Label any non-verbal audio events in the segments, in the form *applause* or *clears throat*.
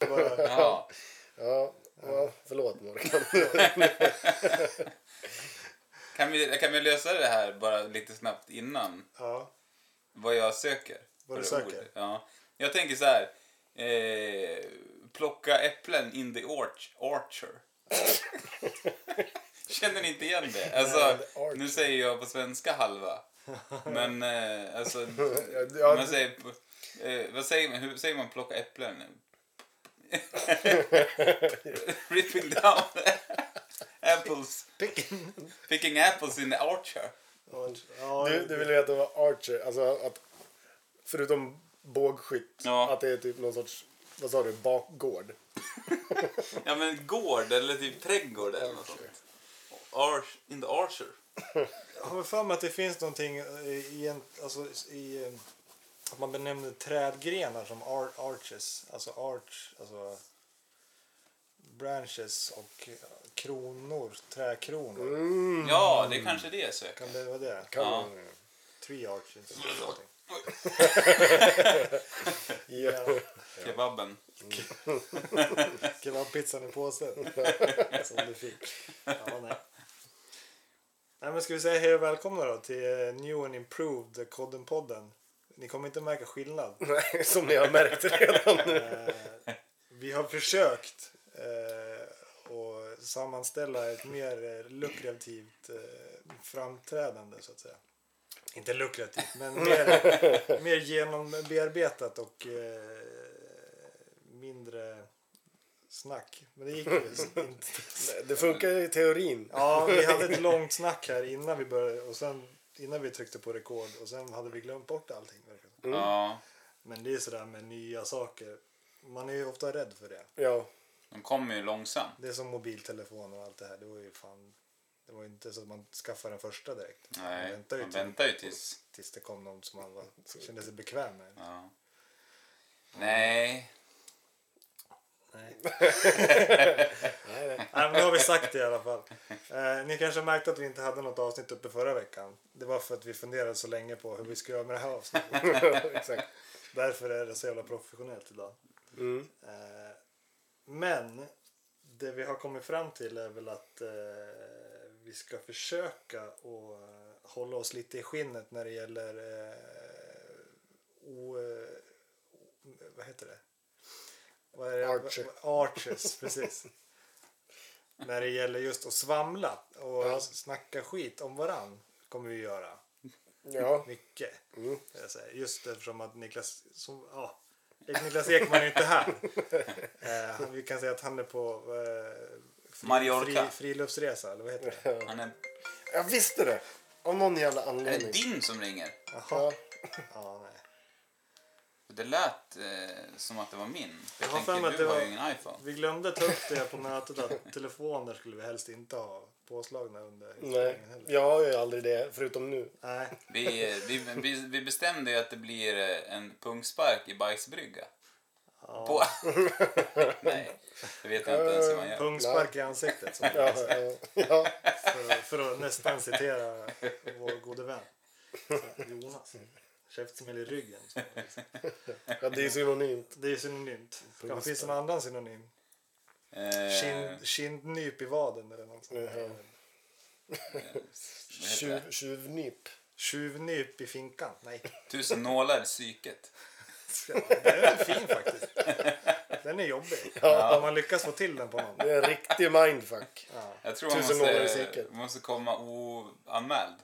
*laughs* Kan vi, kan vi lösa det här bara lite snabbt innan? ja. Vad jag söker. Vad du För söker? ord. Ja. Jag tänker så här. Eh, plocka äpplen in the orch, orchard. *laughs* Känner ni inte igen det? Alltså, the orchard. nu säger jag på svenska halva. Men eh, *laughs* alltså, Ja, man säger, eh, vad säger man, hur säger man plocka äpplen? Ripping down apples, Picken. picking apples in the orchard. Ja, Du, du vill veta vad Archer, alltså att förutom bågskytt, Ja. att det är typ någon sorts, vad sa du, bakgård? Ja men gård eller typ trädgård eller något sånt. Arch, in the Archer. Jag har för mig att det finns någonting i, en, alltså, i eh, att man benämner trädgrenar som ar, arches, alltså arch, alltså branches och kronor, träkronor. Ja, det är kanske det jag söker. Kan det vara det? Mm. Kan Mm. Ja. man- Tree arches. eller någonting. *laughs* ja. Kebaben. Kebabpizzan i påsen. som du fick. Ja, nej. Nej, men ska vi säga hej och välkomna då till eh, New and Improved eh, Kodden-podden. Ni kommer inte märka skillnad. *laughs* Nej, som ni har märkt *laughs* redan nu. Eh, vi har försökt eh, att sammanställa ett mer eh, lukrativt eh, framträdande så att säga. Inte lukrativt, men mer, mer genombearbetat och eh, mindre snack. Men det gick ju inte. Det funkar i teorin. Ja, vi hade ett långt snack här innan vi började och sen innan vi tryckte på rekord och sen hade vi glömt bort allting. verkligen. Ja, Men det är sådär med nya saker. Man är ju ofta rädd för det. Ja, de kommer ju långsamt. Det är som mobiltelefoner och allt det här. Det var ju fan... Det var ju inte så att man skaffade den första direkt. man Nej, väntade ju man till- väntar ju tills... tills det kom någon som man var, kände sig bekväm med. Ja. Nej. *laughs* Nej. Nej, men nu har vi sagt det i alla fall. Eh, ni kanske märkte att vi inte hade något avsnitt uppe förra veckan. Det var för att vi funderade så länge på hur vi ska göra med det här avsnittet. exakt. Därför är det så jävla professionellt idag. Mm. Eh, Men det vi har kommit fram till är väl att eh, vi ska försöka och eh, hålla oss lite i skinnet när det gäller eh, o, eh, vad heter det? Vad är det? Archer. Arches, *laughs* precis. när det gäller just att svamla och Ja. snacka skit om varann kommer vi göra Ja, mycket. Mm. Jag säger. Just eftersom att Niklas, som, ja, Niklas Ekman är inte *laughs* här. eh, han- vi kan säga att han är på eh, Mallorca. friluftsresa, eller vad heter *laughs* det? Han är, jag visste det. Av någon jävla är anledning. det din som ringer? Ja. Jaha. Ja, nej. Det lät eh, som att det var min. För Jag jag har för mig tänker, att du det har var- ju ingen iPhone. Vi glömde ta upp det på mötet att telefoner skulle vi helst inte ha påslagna under Nej, inspelningen heller. jag har ju aldrig det, förutom nu. Nej, Vi, eh, vi, vi, vi bestämde ju att det blir eh, en pungspark i bajsbrygga. På... *laughs* Nej, det vet jag inte ens hur man gör. pungspark i ansiktet. Som *laughs* Ja, ja, ja. för, för att nästan citera vår gode vän Jonas. Mm. Käftsmäll i ryggen. Så. ja, det är synonymt. Det är synonymt. Kanske finns det någon annan synonym? Eh, Kind, kindnyp i vaden eller något sånt. Ja. vad heter det? Tjuv, tjuvnyp. Tjuvnyp i finkan. Nej, Tusen nålar i psyket. den är fin faktiskt. Den är jobbig. Om man lyckas få till den på någon. Det är en riktig mindfuck. Ja, Jag tror man Tusen nålar i måste, psyket. måste komma oanmäld.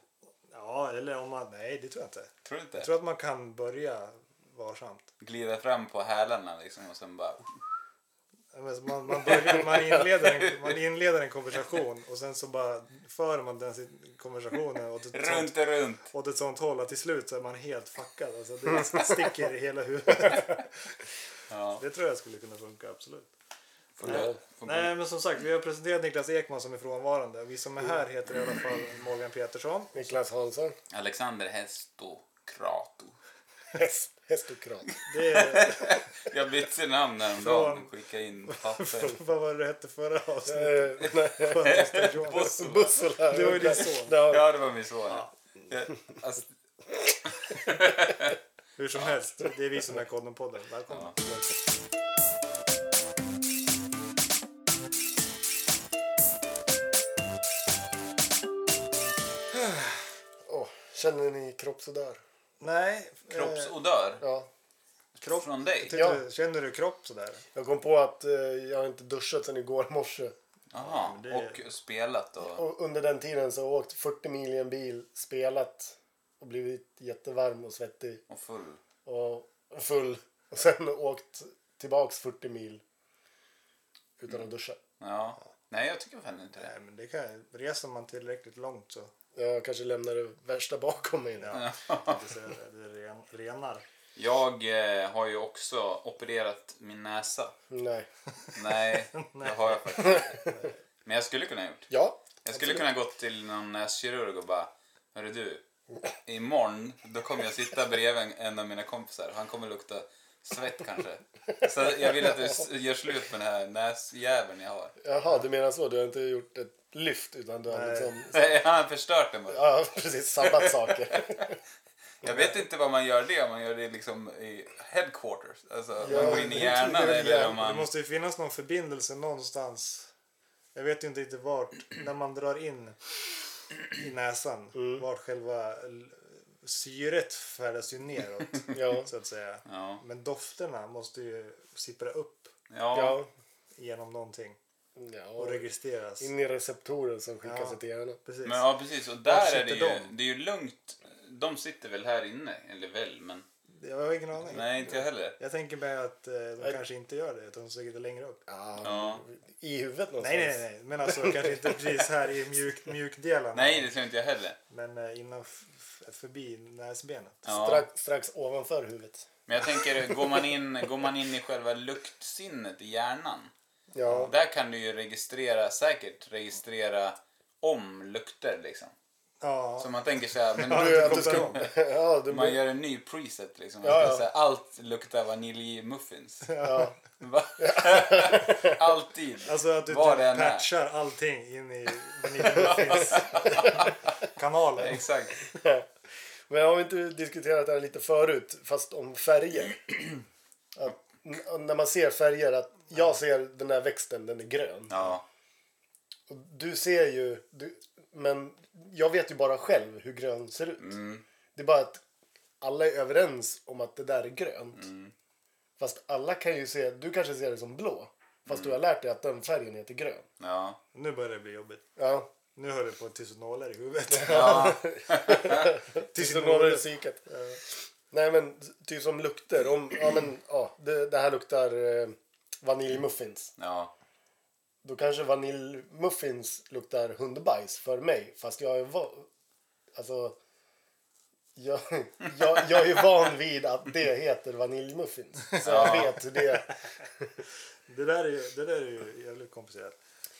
ja eller om man... Nej, det tror jag inte. Tror du inte? Jag tror att man kan börja varsamt. Glida fram på hälarna liksom och sen bara... Ja, men Man, man, börjar, man, inleder en, man inleder en konversation och sen så bara för man den sit- konversationen åt ett, sånt, Runt och runt. åt ett sånt håll att till slut så är man helt fuckad. Alltså det *laughs* sticker i hela huvudet. Ja. Det tror jag skulle kunna funka, absolut. Får du, får Nej, men som sagt, vi har presenterat Niklas Ekman som är frånvarande. Vi som är här heter i alla fall Morgan Petersson. Niklas Hansson. Alexander Hestokrato. Häst, häst och kran. Det är, Jag bytte namn häromdagen Från- och skickade in papper. vad var det du hette förra avsnittet? Eh, nej, Jonas. Bussola. Det var ju din son. Ja, Ja, det var min son. Ja. Jag- Alltså, Hur som helst, det är vi som är Kodden-podden. Välkomna. Känner ni kroppsodör? Nej. eh, Kroppsodör? Ja. Kropp. Från dig? tyckte Ja. du- Känner du kropp sådär? Jag kom på att eh, jag har inte duschat sedan igår morse. Jaha, men det- och spelat och... Och under den tiden så har jag åkt 40 mil i en bil, spelat och blivit jättevarm och svettig och full. och full. Och sen åkt tillbaks 40 mil utan att duscha. Ja. Nej, jag tycker fan inte det. Nej, men det kan jag. Reser man tillräckligt långt så. Jag kanske lämnar det värsta bakom mig nu. Ja. jag tänkte säga det. Det ren, renar. Jag eh, har ju också opererat min näsa. Nej. Nej, det har jag faktiskt inte. Men jag skulle kunna ha gjort. Ja. Jag skulle kunna gått till någon näskirurg och bara Hörru du, imorgon då kommer jag sitta bredvid en- en av mina kompisar. Han kommer lukta svett kanske. Så jag vill att du s- gör slut med den här näsjäveln jag har. Jaha, du menar så. Du har inte gjort ett lyft utan du har Nej. liksom Nej, Han har förstört den bara. ja, precis sabbat saker. Jag vet inte vad man gör det om man gör det liksom i headquarters. Alltså, om Ja, man går in i hjärnan det är väl eller om Det man... måste ju finnas någon förbindelse någonstans. Jag vet ju inte riktigt vart. När man drar in i näsan. Mm. Vart själva l- syret färdas ju *laughs* neråt. Ja. så att säga. Ja, Men dofterna måste ju sippra upp ja. Ja. genom någonting. Och ja. registreras. In i receptorer som skickas Ja. till hjärnan. Precis. Men, ja precis. Och där är det sitter ju, de? det är ju lugnt. De sitter väl här inne? Eller väl, men... Jag har ingen aning. Nej, inte jag heller. Jag tänker mig att eh, de Nej. kanske inte gör det. Utan de söker det längre upp. Ja. I huvudet någonstans. Nej, nej, nej. Men *laughs* alltså kanske inte precis här i mjuk, mjukdelarna. Nej, det tror inte jag heller. Men eh, innan f- f- förbi näsbenet. Ja. Strax, strax ovanför huvudet. Men jag tänker, går man, in, går man in i själva luktsinnet i hjärnan. Ja. Där kan du ju registrera, säkert registrera om lukter liksom. Ja. Så man tänker så här, men Du, det att du ska... kommer typ *laughs* ja, du... man gör en ny preset liksom. Ja, Ja, ja. Så här, allt luktar vaniljmuffins. ja. *laughs* Va? Alltid. Alltså att du Vad typ det än är. patchar allting in i *laughs* vaniljmuffins kanalen. Exakt. Men har vi inte diskuterat det här lite förut, fast *clears throat* om färger? att, n- när man ser färger, att jag ser den där växten, den är grön. Ja. Och du ser ju, du, men jag vet ju bara själv hur grön ser ut. Det är bara att alla är överens om att det där är grönt. Fast alla kan ju se, du kanske ser det som blå. Fast du har lärt dig att den färgen heter grön. Ja. Nu börjar det bli jobbigt. Ja, Nu hör du på tisenoler i huvudet. *laughs* ja. Tills det når i psyket. Nej men typ som lukter. Om, ja, men, ja, det, det här luktar eh, vaniljmuffins. Ja. Då kanske vaniljmuffins luktar hundbajs för mig. Fast jag är van... Alltså... Jag, *laughs* jag, jag är van vid att det heter vaniljmuffins. Så jag vet hur det... Det där är ju, det där är ju jävligt komplicerat.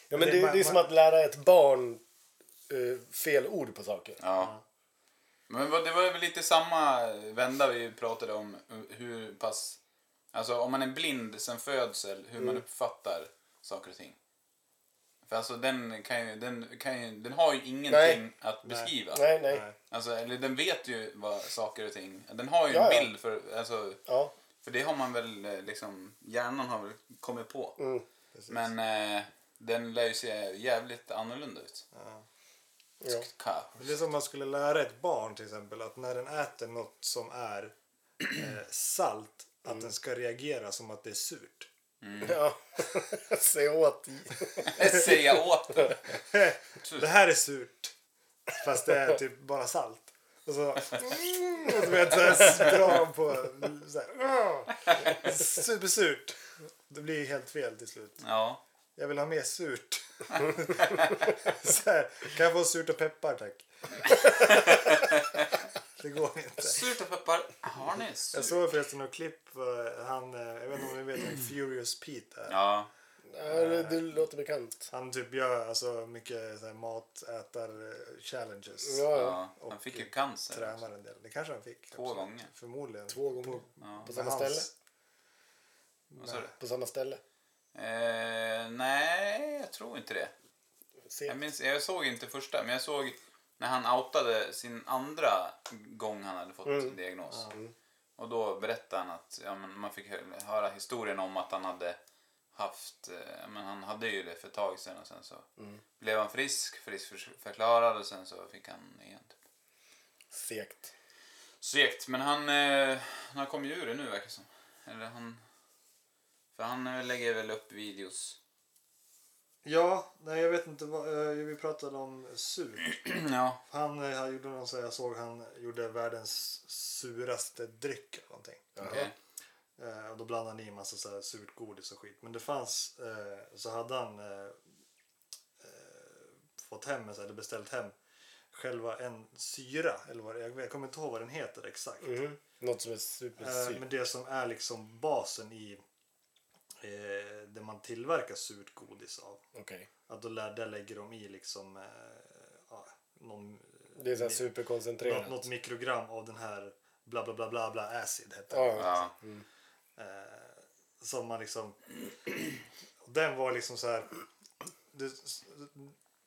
Ja, men det, det är som att lära ett barn eh, fel ord på saker. Ja. Men vad- det var väl lite samma vända vi pratade om hur pass... Alltså om man är blind sen födsel, hur Mm. man uppfattar saker och ting. För alltså den kan ju... Den, kan ju, den har ju ingenting att beskriva. Nej, nej. Nej. Alltså, eller den vet ju vad saker och ting... Den har ju Ja, ja. en bild för... Alltså, Ja. för det har man väl eh, liksom... Hjärnan har väl kommit på. Mm, Men eh, den lär ju se jävligt annorlunda ut. Ja. Ka- Det är som man skulle lära ett barn till exempel att när den äter något som är eh, salt att Mm. den ska reagera som att det är surt. ja. *laughs* Se åt. *laughs* Säga åt den. *laughs* Precis. Det här är surt fast det är typ bara salt. Och så, mm, och du vet, så här, drar de på. Så här, "Åh, supersurt. Det blir helt fel till slut. Ja. Jag vill ha mer surt. *laughs* så här, kan jag få surt och peppar tack? *laughs* det går inte. Surt och peppar. Har ni Jag surt? såg förresten något klipp. eh, Han, eh, jag vet inte om ni vet vem Furious Pete är. Ja. Ja, det, det låter bekant. Han typ gör alltså, mycket så här, eh, matätar-challenges. Ja, ja. ja. Han fick ju cancer. Tränar en del. Det kanske han fick. Två gånger. Förmodligen. Två gånger. På samma Hans- ställe? Vad sa du? På samma ställe? Eh, nej, jag tror inte det. Se. Jag, minns, jag såg inte första, men jag såg när han outade sin andra gång han hade fått diagnos. Och då berättade han att ja, men man fick hö- höra historien om att han hade haft, eh, ja, men han hade ju det för ett tag sedan och sen Mm. så blev han frisk, friskförklarad och sen så fick han igen. Typ. Segt. Segt, men han, eh, han kommer ju ur det nu verkar det som. Eller han... För han eh, lägger väl upp videos. *clears throat* Ja, nej jag vet inte vad, eh, vi pratade om sur. ja. Han, eh, han gjorde någon så jag såg han gjorde världens suraste dryck eller någonting. okej. Eh, och då blandade han i en massa så här surt godis och skit. Men det fanns, eh, så hade han eh, eh, fått hem, eller beställt hem själva en syra, eller vad det, jag, vet- jag kommer inte ihåg vad den heter exakt. Mhm. Något som är Eh, supersyrt. men det som är liksom basen i eh, det man tillverkar surt godis av. Okej. Att då lä- där lägger de i liksom eh, ja, någon, Det är så här Nå- superkoncentrerat. något, något mikrogram av den här bla bla bla bla bla acid heter den. Ja. Ja. Eh, som man liksom... och Den var liksom så här... Det,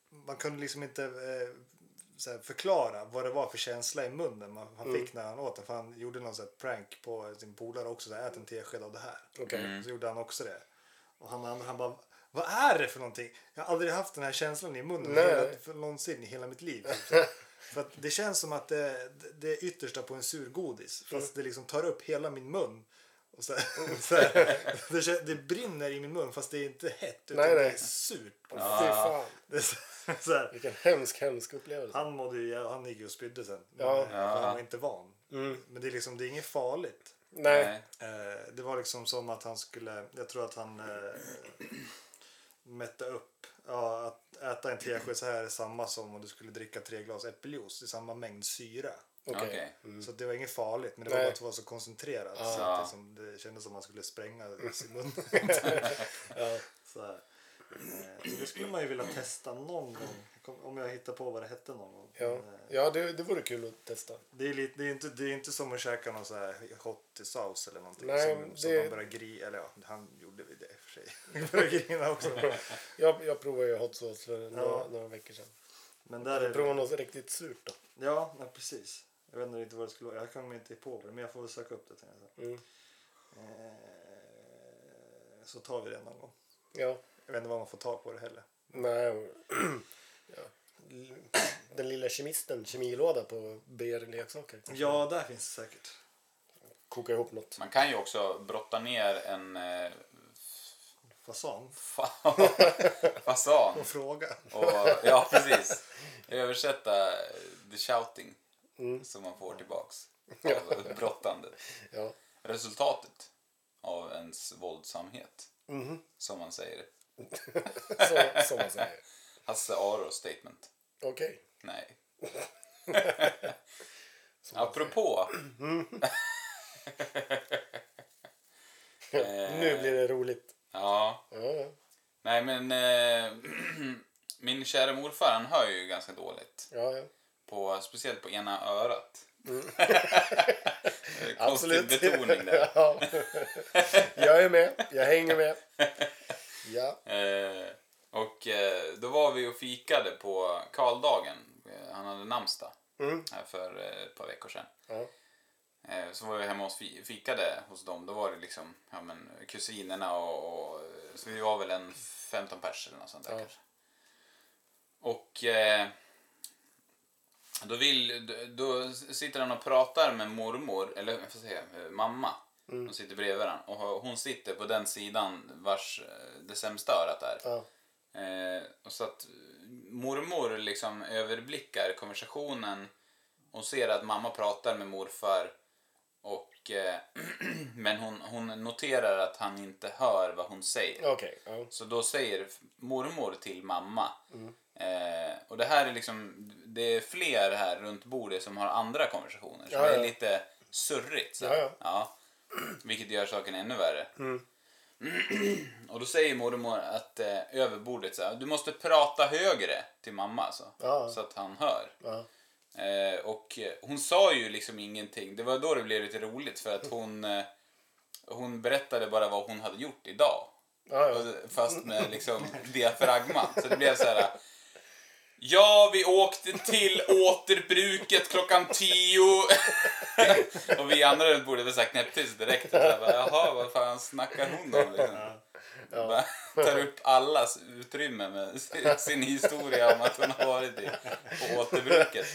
man kunde liksom inte eh, så här, förklara vad det var för känsla i munnen man, han Mm. fick när han åt den. För han gjorde någon så här prank på sin polare också. Så här, Ät en tesked av det här. Okej. Så gjorde han också det. Och han, andra, han bara... Vad är det för någonting? Jag har aldrig haft den här känslan i munnen Nej. hela, för någonsin i hela mitt liv. Typ. för att det känns som att det, det är yttersta på en surgodis. Fast det liksom tar upp hela min mun. Och så, så här, *laughs* det, kän- det brinner i min mun fast det är inte hett utan Nej, nej. det är surt. Fy fan. Det är så, *laughs* så här. Vilken hemsk, hemsk upplevelse. Han mådde ju, jä- han gick ju och spydde sen. Ja. Mm. Men, eh, Han var inte van. Men det är liksom, det är inget farligt. Nej. Nej. Eh, det var liksom som att han skulle, jag tror att han eh, mätta upp. Ja, att äta en tesked så här är samma som om du skulle dricka tre glas äppeljuice. Det är samma mängd syra. Okej. Okej. Så att det var inget farligt, men det var Mm. Nej. bara att det var så koncentrerat. Så Ah. att det, som, det kändes som att man skulle spränga sin *laughs* mun. så, här. *laughs* Eh, så det skulle man ju vilja testa någon gång. Kom- Om jag hittar på vad det hette någon gång. Ja, Men, eh, ja det, det vore kul att testa. Det är, lite, det, är inte, det är inte som att käka någon så här hottisaus eller någonting. Nej, som, som det- man börjar grina. Eller ja, han gjorde väl det i och för sig. *laughs* Han började grina också. *laughs* Jag, jag provade ju hot sauce för några, Ja. några veckor sedan. Men där Jag är det, provade något riktigt surt då. Ja, nej, precis. Jag vet inte riktigt vad det skulle vara. Jag kommer inte på vad det, men jag får väl söka upp det. Till jag. Mm. Eh, så tar vi det någon gång. Ja. Jag vet inte vad man får tag på det heller. Nej. *clears throat* ja. L- Den lilla kemisten, kemilåda på BR Leksaker. Ja, där finns det säkert. Koka ihop något. Man kan ju också brotta ner en eh, *laughs* Fasan. fa- fasan. Och fråga. Och, ja, precis. Översätta eh, the shouting som man får tillbaks av brottandet. Ja. Resultatet av ens våldsamhet, som man säger. Så, som man säger. Hasse Aro statement. Okej. *laughs* Nej. Apropå. Mm. *laughs* Nu blir det roligt. Eh, Ja. Ja, ja. Nej, men eh, *clears throat* min kära morfar han hör ju ganska dåligt. ja, ja. På, speciellt på ena örat. *laughs* Konstig Mm. Absolut. betoning där. *laughs* ja. Jag är med. Jag hänger med. Ja. Eh, och eh, då var vi och fikade på Karldagen. Eh, Han hade namnsdag Mm. här för eh, ett par veckor sedan. Ja. Eh, så var vi hemma och fi- fikade hos dem. Då var det liksom ja, men, kusinerna och, och... Så vi var väl en 15 pers eller något sånt där Ja. kanske. Och... Eh, då, vill, då- då sitter han och pratar med mormor, eller vad ska jag säga, eh, mamma. Mm. Hon sitter bredvid varandra. Och hon sitter på den sidan vars eh, det sämsta örat är. Ja. Eh, och så att mormor liksom överblickar konversationen och ser att mamma pratar med morfar. Och, eh, *clears throat* men hon, hon noterar att han inte hör vad hon säger. Okej. Ja. Så då säger f- mormor till mamma. Mm. Eh, och det här är liksom, det är fler här runt bordet som har andra konversationer. Så Ja, det är ja. lite surrigt. Så. Ja, ja. Vilket gör saken ännu värre. Mm. och då säger mormor att eh, över bordet så här, du måste prata högre till mamma alltså, Ja, ja. så att han hör. Ja. Eh, och eh, hon sa ju liksom ingenting. Det var då det blev lite roligt för att hon, eh, hon berättade bara vad hon hade gjort idag. Ja, Och ja. *laughs* det- Fast med liksom diafragman. Så det blev så här. Ja, vi åkte till återbruket klockan *laughs* tio. och vi andra runt bordet hade sagt nej precis direkt. Så jag bara, Jaha, vad fan snackar hon om? Liksom. Bara tar upp allas utrymme med sin- sin historia om att hon har varit i, på återbruket.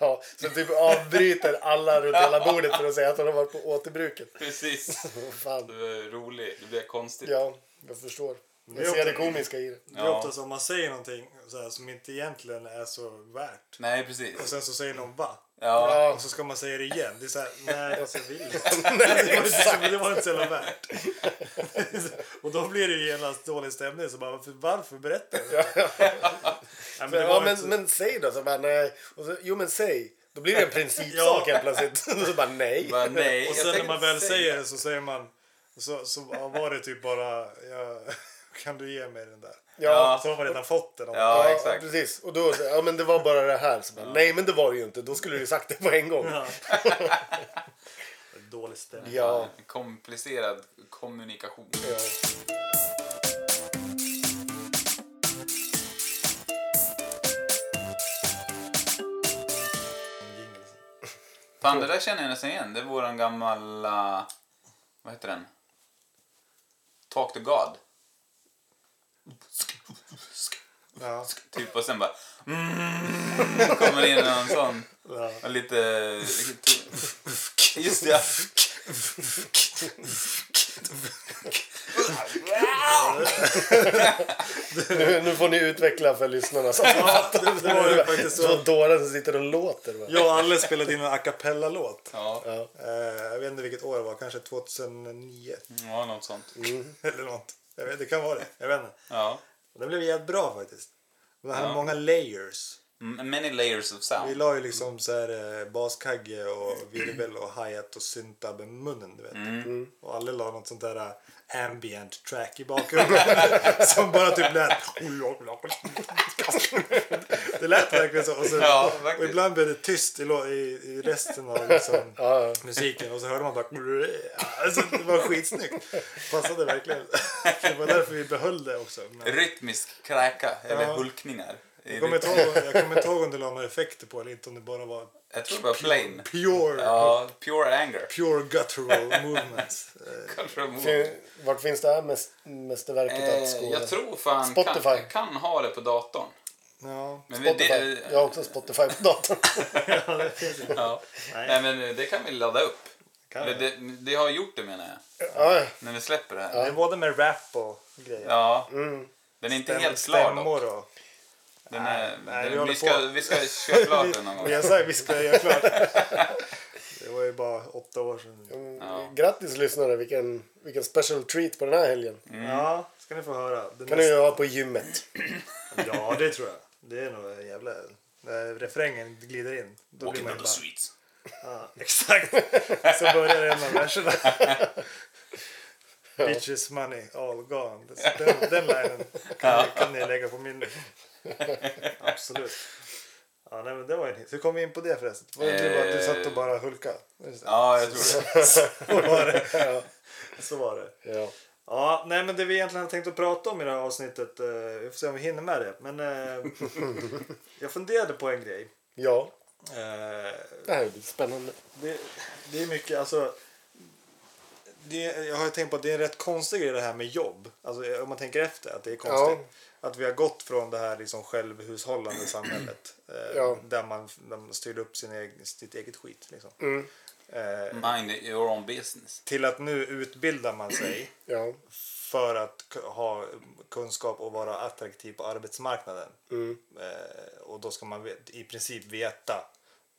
Ja, så typ avbryter alla runt hela bordet för att säga att hon har varit på återbruket. Precis. Vad Fan. Du är rolig. Det blir konstigt. Ja, jag förstår. Det är Jag ser det också- *laughs* komiska i det. Det Ja. är ofta som man säger någonting så här, som inte egentligen är så värt. Nej, Och precis. sen så säger någon va? Ja. Ja. Och så ska man säga det igen. Det är så här, nej alltså jag vill *laughs* inte. det, var inte så- det var inte så jävla värt. *laughs* och då blir det ju genast dålig stämning. Så bara, varför, varför berättar du? Ja. Nej, men *laughs* det Ja, var men, inte så- men säg då. Så bara, nej. Och så, jo, men säg. Då blir *laughs* det en principsak Ja. helt plötsligt. *laughs* Och så bara nej. Bara, nej. Och jag sen när tänkte man väl säga- säger det så säger man så, så var det typ bara ja, *laughs* kan du ge mig den där? Ja. Så har man redan fått den. Ja, exakt. precis. Och då så, ja men det var bara det här. Så bara, Nej, men det var det ju inte. Då skulle du ju sagt det på en gång. Ja. *laughs* Dålig stämning. Ja. Komplicerad kommunikation. ja. Fan, det där känner jag nästan igen. Det är våran gamla... Vad heter den? Talk to God. Ja. Typ och sen bara... Mm, kommer in någon sån. Ja. Och lite... Just det. Nu, nu får ni utveckla för lyssnarna. Så Ja, det, det var ju faktiskt så så. dåren som sitter och låter. Va? Jag och Alle spelade in en a cappella-låt. Ja, Ja. Eh, jag vet inte vilket år det var, kanske 2009 ja något sånt. eller något. Jag vet, det kan vara det. Jag vet inte. Ja. Och Den blev jävligt bra faktiskt. Den hade Ja. många layers. M- Many layers of Vi sound. la ju liksom så här eh, baskagge och virvel och hi-hat och synta med munnen du vet. Mm. Och alla la något sånt där eh, ambient track i bakgrunden *laughs* som bara typ lät... *laughs* det lät verkligen så. Och, så, Ja, faktiskt. och ibland blev det tyst i, lå- i, i resten av liksom, Ja, ja. musiken och så hörde man bara... *laughs* Alltså, det var skitsnyggt. Passade verkligen. *laughs* det var därför vi behöll det också. Men... Rytmisk kräka, eller Ja. hulkningar. Jag kommer, inte ihåg, jag kommer inte ihåg om det la några effekter på eller inte om det bara var Jag tror det var plain. pure, Ja, pure anger. pure *laughs* guttural movements. Eh, Kanske mot- Fin- Vart finns det här mäst- mästerverket att Eh, skåda? jag tror fan Spotify. kan, kan ha det på datorn. Ja. Men vi- Spotify. det, Jag har också Spotify på datorn. *laughs* ja. Nej. Nej, men det kan vi ladda upp. Kan Eller det, det har gjort det menar jag. Ja, När vi släpper det här. Det är både med rap och grejer. Ja. Mm. Den är inte Stäm- helt klar dock. Stämmor och... Den är, nej, vi den, vi, håller ska, på. vi ska köra klart *laughs* den någon gång. Vi har sagt vi ska göra *laughs* klart. Det var ju bara åtta år sedan. Ja. Grattis lyssnare, vilken, vilken special treat på den här helgen. Mm. Ja, ska ni få höra. Det kan ni ju ha på gymmet. Ja, det tror jag. Det är nog en jävla... När refrängen glider in. Då blir man ju bara... sweets. Ja, *laughs* exakt. Så börjar en av verserna. Bitches money all gone. Den, den linen kan, ni- kan ni lägga på min. Absolut. Ja, nej, men det var ju en hit. Hur kom vi in på det förresten? Var det du, bara, du satt och bara hulka? Just det. Ja, jag tror det. Så var det. Så var det. Ja. Ja, nej men det vi egentligen hade tänkt att prata om i det här avsnittet. eh, Vi får se om vi hinner med det. Men eh, jag funderade på en grej. ja, Eh, det här blir spännande. det, det är mycket, alltså. Det, jag har ju tänkt på att det är en rätt konstig grej det här med jobb. Alltså, om man tänker efter att det är konstigt. Att vi har gått från det här liksom självhushållande samhället. Eh, Ja. Där man, där man styrde upp sin egen, sitt eget skit. Liksom. Mm. Eh, Mind your own business. till att nu utbildar man sig Ja. för att k- ha kunskap och vara attraktiv på arbetsmarknaden. Mm. Eh, och då ska man vet, i princip veta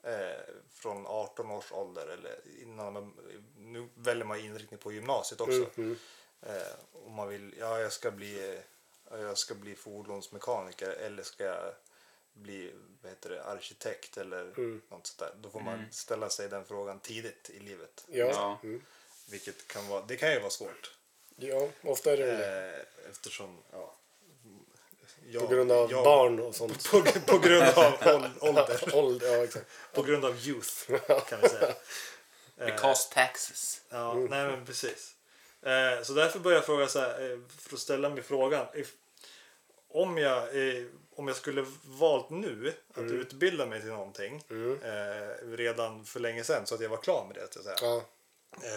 eh, från 18 års ålder eller innan man, nu väljer man inriktning på gymnasiet också. Eh, om man vill, ja jag ska bli, ja, jag ska bli fordonsmekaniker eller ska jag bli vad heter det, arkitekt eller något sånt där. Då får man ställa sig den frågan tidigt i livet. Ja. Ja. Mm. Vilket kan vara, det kan ju vara svårt. ja, ofta är det väl det. Eh, eftersom, ja. På Jag- grund av jag- barn och sånt. På, på grund av ål- ålder. *laughs* Ålder, ja exakt. På grund av youth, kan vi säga. Because taxes. Ja, nej men precis. Eh, så därför börjar jag fråga så här, eh, för att ställa mig frågan. If, om, jag, eh, om jag skulle valt nu att Mm. utbilda mig till någonting eh, redan för länge sedan så att jag var klar med det. Så att säga. Ja.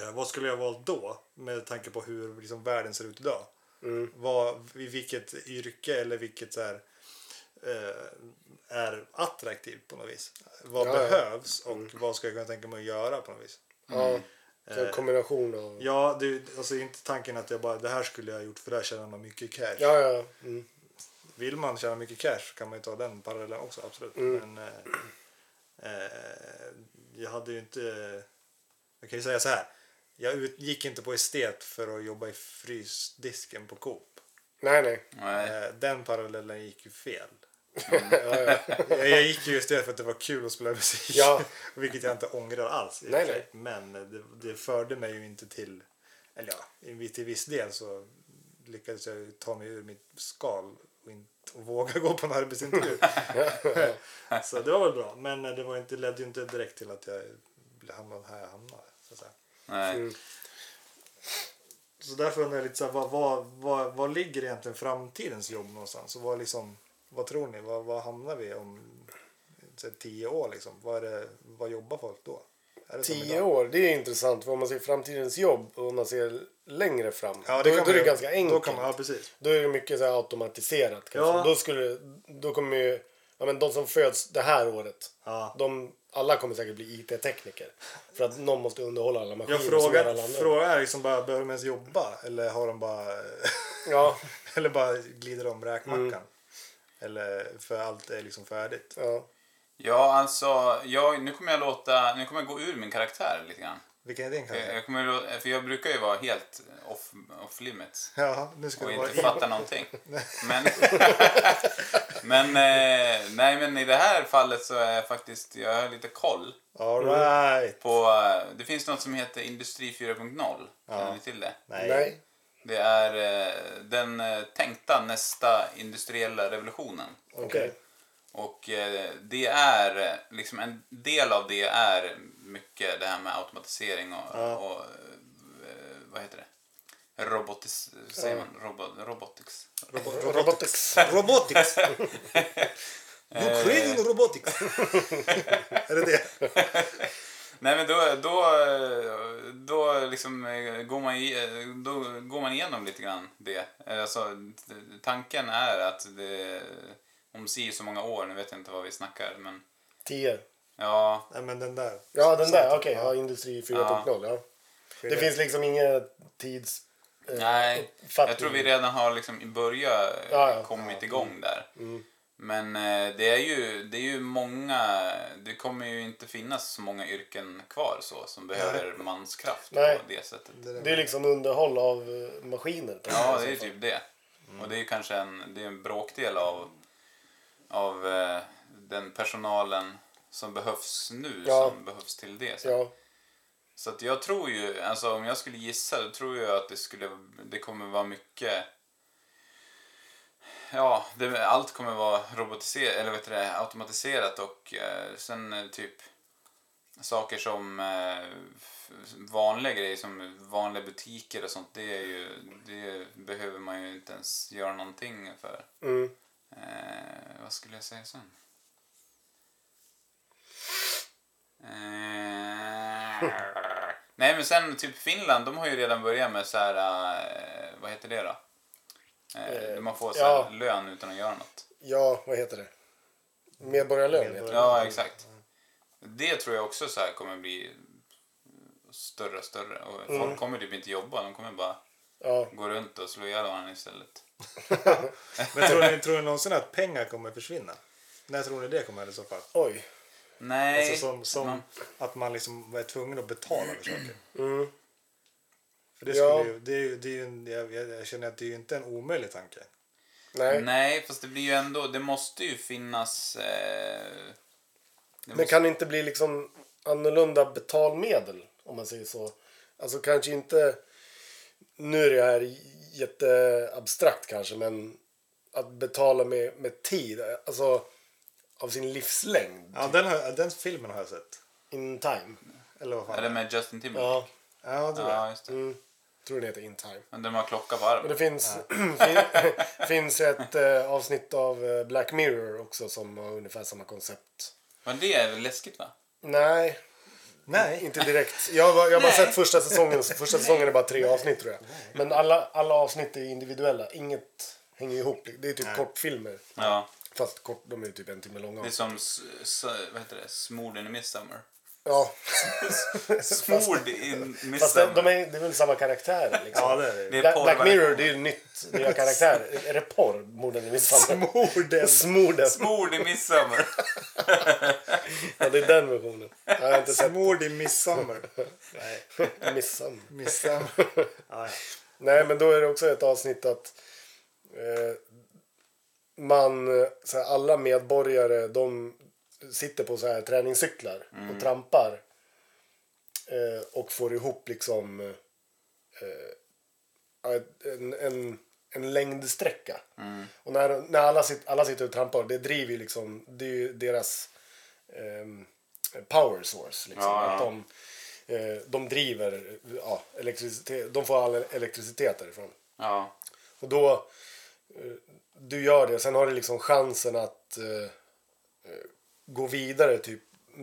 Eh, vad skulle jag valt då med tanke på hur liksom, världen ser ut idag? Mm. vad, i vilket yrke eller vilket så här, eh, är attraktivt på något vis. Vad Ja, ja. Mm. behövs och vad ska jag kunna tänka mig att göra på något vis. Ja, så en kombination av... Ja, Eh. Ja, det, alltså inte tanken att jag bara det här skulle jag ha gjort för där tjänar man mycket cash. ja. ja. Mm. Vill man tjäna mycket cash så kan man ju ta den parallellen också, absolut. Men eh, eh, jag hade ju inte... Jag kan ju säga så här. Jag utgick inte på estet för att jobba i frysdisken på Coop. Nej, nej. Mm. Nej. Eh, den parallellen gick ju fel. *laughs* ja, ja. Jag, jag gick ju estet för att det var kul att spela musik. Ja. *laughs* Vilket jag inte ångrar alls. i och Nej, för sig. nej. Men det, det förde mig ju inte till... Eller ja, i- till viss del så lyckades jag ju ta mig ur mitt skal och, inte, och våga gå på en *laughs* arbetsintervju. *laughs* så det var väl bra. Men det var inte, ledde ju inte direkt till att jag hamnade här jag hamnade. Så, att säga. Nej. Mm. så därför undrar jag lite så här, vad, vad, vad, vad ligger egentligen framtidens jobb någonstans? Och vad, liksom, vad tror ni? Vad, vad hamnar vi om så här, tio år? Liksom? Vad, är det, vad jobbar folk då? Är det som Tio idag? år, det är intressant. För om man ser framtidens jobb och om man ser längre fram, Ja, då, det kan då är man det ju- ganska Då, enkelt. kan man, ja, precis. Då är det mycket så här automatiserat. Kanske. Ja. Då, skulle, då kommer ju... Ja, men de som föds det här året, Ja. de, alla kommer säkert bli IT-tekniker. För att någon måste underhålla alla maskiner. Jag som gör alla frågar, andra. frågar är liksom bara, behöver de ens jobba? Eller har de bara... *laughs* Ja, eller bara glider de räkmackan? Mm. Eller för allt är liksom färdigt? ja. Ja, alltså, jag, nu kommer jag låta, nu kommer jag gå ur min karaktär lite grann. Vilken är din Jag, kanske? jag kommer, lå- för jag brukar ju vara helt off, off limits. Ja, nu ska och det vara inte in. fatta någonting. *laughs* Men, *laughs* men, eh, nej, men i det här fallet så är jag faktiskt, jag har lite koll All Mm. right. på, eh, det finns något som heter Industri 4.0. Känner Ja. ni till det? Nej. Nej. Det är eh, den eh, tänkta nästa industriella revolutionen. Okej. Okej. Och eh, det är, eh, liksom en del av det är mycket det här med automatisering och, Ja. och eh, vad heter det? Robotis, säger man? Robo, robotics? Robo- Robotics. Robotics! You're creating robotics! är det det? Nej men då, då, eh, då liksom eh, går man, i- eh, då går man igenom lite grann det. Eh, Alltså, t- tanken är att det, om si så många år, nu vet jag inte vad vi snackar men Tio. ja, Nej, men den där. Ja, den där. Okej, ja, Industri 4.0. Ja. Det Skiljer. finns liksom inga tids... eh, nej. uppfattning. Jag tror vi redan har liksom i början eh, Ja, Mm. ja. kommit igång där. Men eh, det är, ju, det är ju många, det kommer ju inte finnas så många yrken kvar så som behöver manskraft Nej. på det sättet. Det där. Det är liksom underhåll av eh, maskiner. på Ja, något det är sätt. typ det. Mm. Och det är ju kanske en, det är en bråkdel av, av eh, den personalen som behövs nu Ja. som behövs till det. Så, Ja, så att jag tror ju, alltså om jag skulle gissa, då tror jag att det, skulle, det kommer vara mycket Ja, det, allt kommer vara robotiserat, eller vet du det, automatiserat och eh, sen eh, typ saker som eh, f- vanliga grejer som vanliga butiker och sånt, det, är ju, det behöver man ju inte ens göra någonting för. mm. Eh, vad skulle jag säga sen? Eh, nej men sen typ Finland, de har ju redan börjat med så här, eh, vad heter det då? Eh, Eh, man får så här ja. lön utan att göra något. ja vad heter det? Medborgarlön heter det. Medborgarlön. Ja, exakt. Det tror jag också så här kommer bli större och större. Och folk Mm. kommer typ inte jobba, de kommer bara Ja. gå runt och slå ihjäl varandra istället. Men tror ni, tror ni någonsin att pengar kommer försvinna? När tror ni det kommer hända i så fall? Oj. Nej. Alltså som, som man- att man liksom är tvungen att betala för saker. Mm. För det, Ja. skulle ju, det är ju, det är ju en, jag, jag jag känner att det är ju inte en omöjlig tanke. Nej. Nej, fast det blir ju ändå, det måste ju finnas... Eh, det Men kan det inte bli liksom annorlunda betalmedel om man säger så? Alltså kanske inte... Nu är det här jätteabstrakt kanske men att betala med, med tid, alltså av sin livslängd. Ja, den, har, den filmen har jag sett. In time. Eller vad fan? är det med Justin Timberlake? Ja. Ja, det tror jag. ja just det. Mm. Tror den heter In time. Men de har klocka på Men armen. det finns, *clears throat* fin, *laughs* finns ett eh, avsnitt av eh, Black Mirror också som har ungefär samma koncept. Men det är väl läskigt va? Nej, Nej. Inte direkt. Jag, har- jag har bara Nej. sett första säsongen. så Första säsongen är bara tre avsnitt tror jag. Men alla, alla avsnitt är individuella. Inget hänger ihop. Det är typ kortfilmer. Ja. Fast kort, de är typ en timme långa. Det är som s- s- vad heter det? Smorden i Midsummer. Ja. Smord i Fast de, Midsummer. de är, det är väl samma karaktärer liksom. Ja, det är det. Det är Black, porr Black varje Mirror, gång. det är ju nytt. Nya karaktärer. Är det porr? Morden i misshandeln. Morden. Smorden. Smord i Midsummer. Ja, det är den versionen. Jag har inte sett Mord i midsommar. Nej, missan. *laughs* midsommar. Ja, ja. Nej, men då är det också ett avsnitt att eh, man, eh, så här, alla medborgare, de sitter på så här träningscyklar Mm. och trampar eh, och får ihop liksom eh, ja, ett- en, en, en längdsträcka. Mm. Och när, när alla, sit, alla sitter och trampar, det driver ju liksom, det är ju deras ehm, power source. Liksom. Ja, ja. Att de, eh, de driver, ja, elektricitet, de får all elektricitet därifrån. Ja. Och då, eh, du gör det, sen har du liksom chansen att eh, eh, gå vidare, typ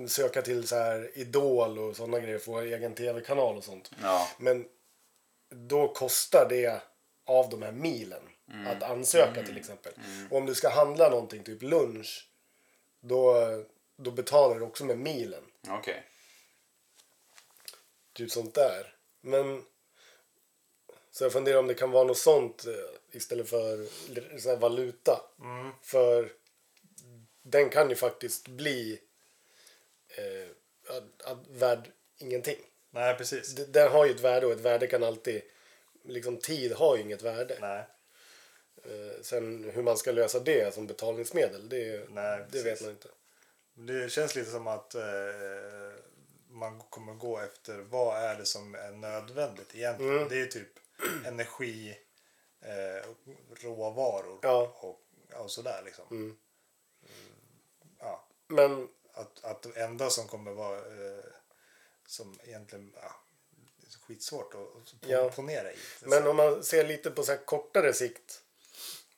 söka till så här Idol och sådana grejer, få egen tv-kanal och sånt. Ja. Men då kostar det av de här milen att ansöka till exempel. Och om du ska handla någonting, typ lunch, då, då betalar du också med milen. Okej. Typ sånt där. Men så jag funderar om det kan vara något sånt eh, istället för l- så här valuta. Mm. För den kan ju faktiskt bli eh, att- att värd ingenting. Nej, precis. D- Den har ju ett värde och ett värde kan alltid... Liksom tid har ju inget värde. Nej. Eh, Sen hur man ska lösa det som betalningsmedel, det, Nej, det precis. vet man inte. Det känns lite som att eh, man kommer gå efter vad är det som är nödvändigt egentligen. Mm. Det är typ *clears throat* energi, eh, råvaror Ja. och, och sådär liksom. Mm, Ja, Men att, att det enda som kommer vara eh, som egentligen ja, det är så skitsvårt att po- Ja. ponera i. Men om man ser lite på så här kortare sikt.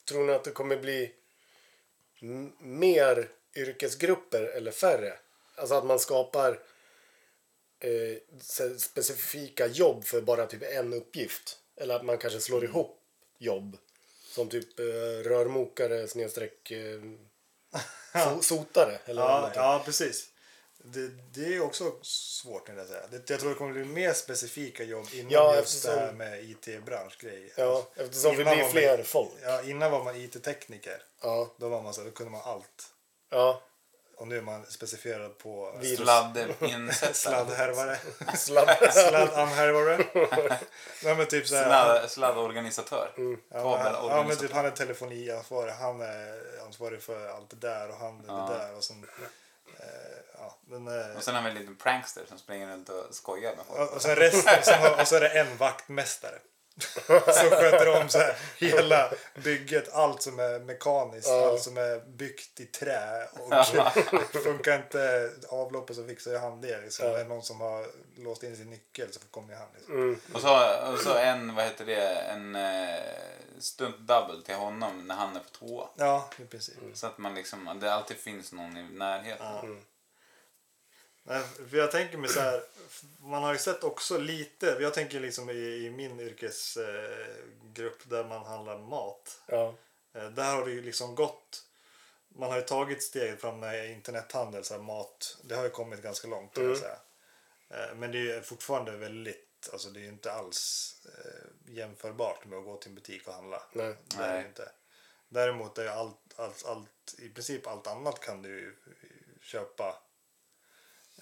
Tror ni att det kommer bli m- mer yrkesgrupper eller färre? Alltså att man skapar eh, så här specifika jobb för bara typ en uppgift. Eller att man kanske slår Mm. ihop jobb. Som typ eh, rörmokare *laughs* snedstreck eh, so- sotare. Eller Ja, någonting. ja precis. Det, det är ju också svårt. När jag, säga. Det, jag tror det kommer bli mer specifika jobb inom Ja, just det här eftersom- med IT-branschgrejer. ja, eftersom vi Innan blir var fler man, folk. Ja, innan var man IT-tekniker. Ja, Då, var man så, här, då kunde man allt. ja. Och nu är man specifierad på *laughs* Vi- Sladdinsättare. *laughs* sladdhärvare. Sladd. Sladdanhärvare. Nej, men typ så här, Sladd, sladdorganisatör. ja, men- ja, men Kabelorganisatör. typ han är telefoniansvarig. Han är ansvarig för allt det där och han är Ja. det där. Och sen, eh, ja, men, eh, Och sen har vi en liten prankster som springer runt och skojar med folk. Och och sen resten, och sen har, och så är det en vaktmästare. *laughs* Som sköter om så här, hela bygget, allt som är mekaniskt, Ja. allt som är byggt i trä. Och *laughs* funkar inte avloppet så fixar ju han det. Liksom. Är det någon som har låst in sin nyckel så kommer ju han. Liksom. Och så, och så en, vad heter det, en eh, stunt double till honom när han är på toa. Ja, i princip. Så att man liksom, att det alltid finns någon i närheten. Nej, för jag tänker mig så här, man har ju sett också lite, jag tänker liksom i, i min yrkesgrupp där man handlar mat. Ja, Eh, Där har det ju liksom gått. Man har ju tagit steget fram med internethandel, så här mat. Det har ju kommit ganska långt. kan Jag säga. Eh, Men det är ju fortfarande väldigt, alltså det är ju inte alls eh, jämförbart med att gå till en butik och handla. nej. Det är det Nej. ju inte. Däremot är ju allt, allt, allt, i princip allt annat kan du ju köpa.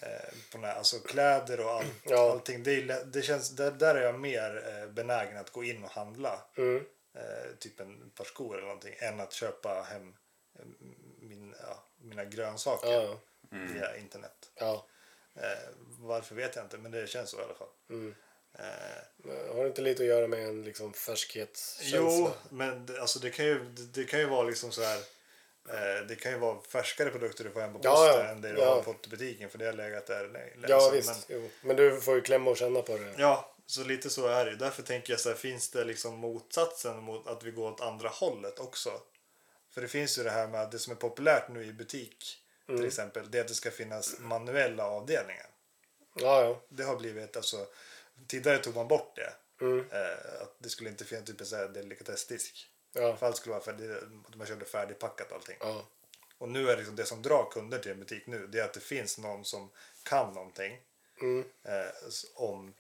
Eh, på den här, alltså kläder och allt, Ja. allting. Det är, ju lä- det känns, där, där är jag mer eh, benägen att gå in och handla Mm. eh, typ en par skor eller någonting än att köpa hem eh, min, ja, mina grönsaker Ja, Mm. ja. via internet. ja. Eh, varför vet jag inte, men det känns så i alla fall. Mm. Eh, Har det inte lite att göra med en liksom färskhetskänsla? jo, men det, alltså, det, kan ju, det, det kan ju vara liksom så här. Eh, det kan ju vara färskare produkter du får hem på Ja, posten ja, än det du ja. har fått i butiken för det har legat där länge. Ja, Alltså, visst. men- Men... Jo. men du får ju klämma och känna på det. Ja, så lite så är det ju. Därför tänker jag så här, finns det liksom motsatsen mot att vi går åt andra hållet också? För det finns ju det här med att det som är Mm. populärt nu i butik till exempel, det är att det ska finnas manuella avdelningar. Ja, ja. Det har blivit, alltså, tidigare tog man bort det. Mm. Eh, att det skulle inte finnas typ en sån här delikatessdisk. Ja. För allt skulle vara färdigt, att man körde färdigpackat allting. ja. Och nu är det liksom det som drar kunder till en butik nu, det är att det finns någon som kan någonting Mm. eh, s- om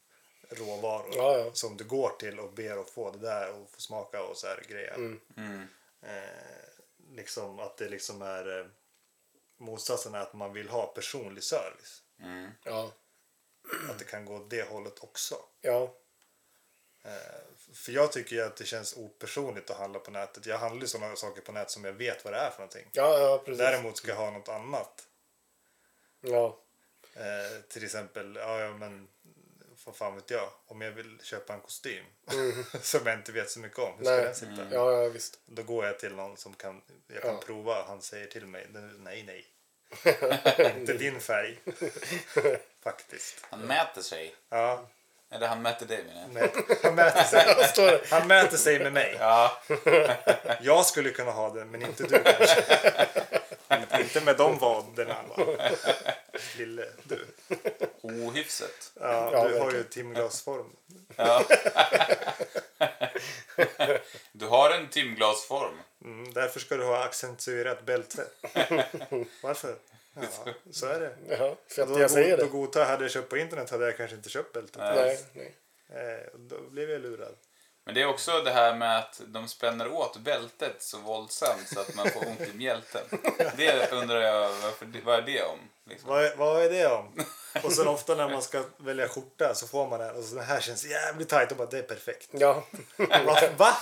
råvaror Ja, ja. som du går till och ber att få det där och få smaka och så här grejer. Mm. Mm. Eh, liksom att det liksom är eh, motsatsen är att man vill ha personlig service. Mm. Ja. Att det kan gå åt det hållet också. Ja. Eh, för jag tycker ju att det känns opersonligt att handla på nätet. Jag handlar ju sådana saker på nätet som jag vet vad det är för någonting. Ja, ja, precis. Däremot ska jag ha något annat. Ja. Eh, till exempel, ja, ja men vad fan vet jag? Om jag vill köpa en kostym *laughs* som jag inte vet så mycket om, hur ska Mm. Nej. den sitta? Ja, ja, visst. Då går jag till någon som kan, jag kan Ja. prova. Han säger till mig, nej *laughs* nej. inte din färg. Faktiskt. Han mäter sig. Ja, Eller han mäter dig menar jag. men han mäter sig. *laughs* Vad står det? Han mäter sig med mig. Ja. *laughs* Jag skulle kunna ha den, men inte du kanske. inte med de vaderna. va? Lille du. Ohyfset. Ja, Ja, du har ju verkligen. timglasform. Ja. Du har en timglasform. Mm, därför ska du ha accentuerat *laughs* bälte. Varför? Ja, så är det. Ja, för att Då, jag säger då det. Gotha hade jag köpt på internet hade jag kanske inte köpt bältet. Nej, nej. Eh, och då blev jag lurad. Men det är också det här med att de spänner åt bältet så våldsamt så att man får ont i mjälten. Det undrar jag, varför, vad är det om? Liksom. Vad, är- vad är det om? Och sen ofta när man ska välja skjorta så får man den och så den här känns jävligt tajt och bara det är perfekt. Ja, *laughs* Va? Va?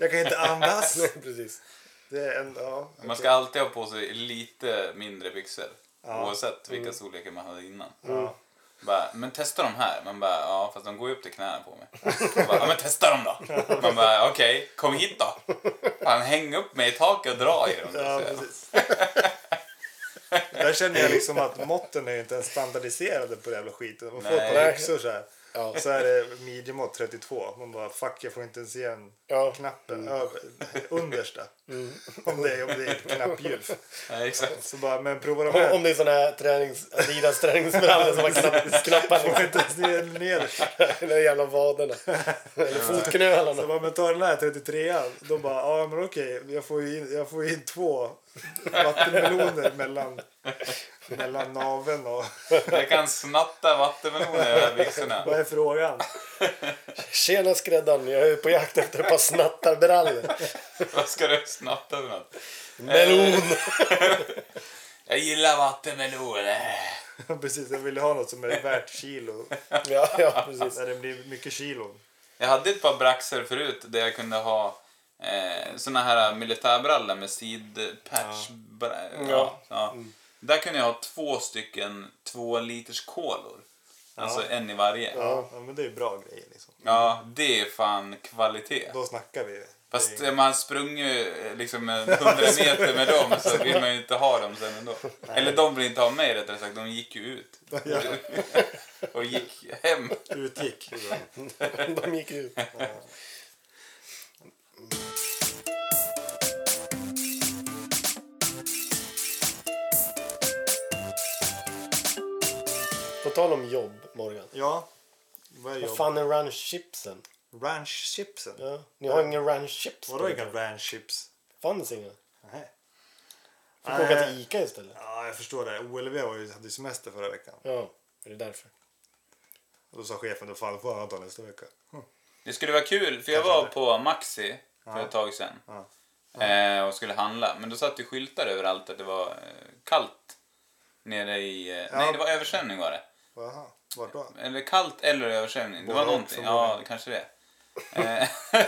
Jag kan inte andas. precis. Det är en, ja, Man ska alltid ha på sig lite mindre byxor. Ja. Mm. Oavsett vilka storlekar man hade innan. ja. Mm. Bara, men testa de här. Man bara, ja fast de går ju upp till knäna på mig. *laughs* Jag Bara, ja men testa dem då. Man bara, okej, kom hit då. Han häng upp mig i taket och dra i dem. Ja, precis. Där känner jag liksom att måtten är ju inte ens standardiserade på det jävla skiten. Man får ett par Nej. byxor så här. Ja. Så här är det midjemått 32. Man bara fuck jag får inte ens igen Ja. knappen Mm. över, understa. Om, det, är- om det är ett knappdjup. Ja, exakt. Så bara men prova de Om, här. om det är såna här tränings, Adidas träningsbrallor som man knapp, knappar Får liksom. inte ens ner, nederst. Eller *laughs* jävla vaderna. Eller Så fotknölarna. bara men ta den här 33an. Då bara ja men okej jag får ju in, jag får ju in två vattenmeloner mellan, mellan naveln och Jag kan snatta vattenmeloner i de här byxorna. *laughs* vad är frågan? Tjena skräddaren, jag är på jakt efter ett par snattarbrallor. Vad ska du snatta för något? Melon! Jag gillar vattenmeloner. *laughs* Precis, jag ville ha något som är värt kilo. Ja, ja precis. Där det blir mycket kilo. Jag hade ett par braxer förut där jag kunde ha eh, såna här militärbrallor med sidpatch. Ja. Mm. Ja, ja. Där kunde jag ha två stycken två liters kolor. Alltså en i varje. Ja. Ja. men det är ju bra grejer liksom. det är fan kvalitet. Då snackar vi. *laughs* Fast det... eh, man sprung ju eh, liksom en 100 meter med dem så vill man ju inte ha dem sen *laughs* ändå. Eller de vill inte ha mig rättare sagt, de gick ju ut. Och gick hem. är- Utgick. *laughs* De gick ut. På tal om jobb, Morgan. Ja. Vad är Vad jobb? fan är ranch chipsen? Ranch chipsen? Ja. Ni har ingen ranch chips? på Vadå det? inga ranch chips? Fanns inga? Nej. Fick åka Nej. till Ica istället? Ja, jag förstår det. OLV var ju, hade ju semester förra veckan. Ja, är det därför? Och då sa chefen, då fan, får han ta nästa vecka. Det skulle vara kul, för jag var på Maxi för ett tag sedan. Ja. Eh, och skulle handla. Men då satt det skyltar överallt att det var eh, kallt. Nere i... Eh, Nej, det var översvämning var det. Jaha, vart då? Eller kallt eller översvämning. Det Både var och någonting. förmodligen. Ja, kanske det. Eh,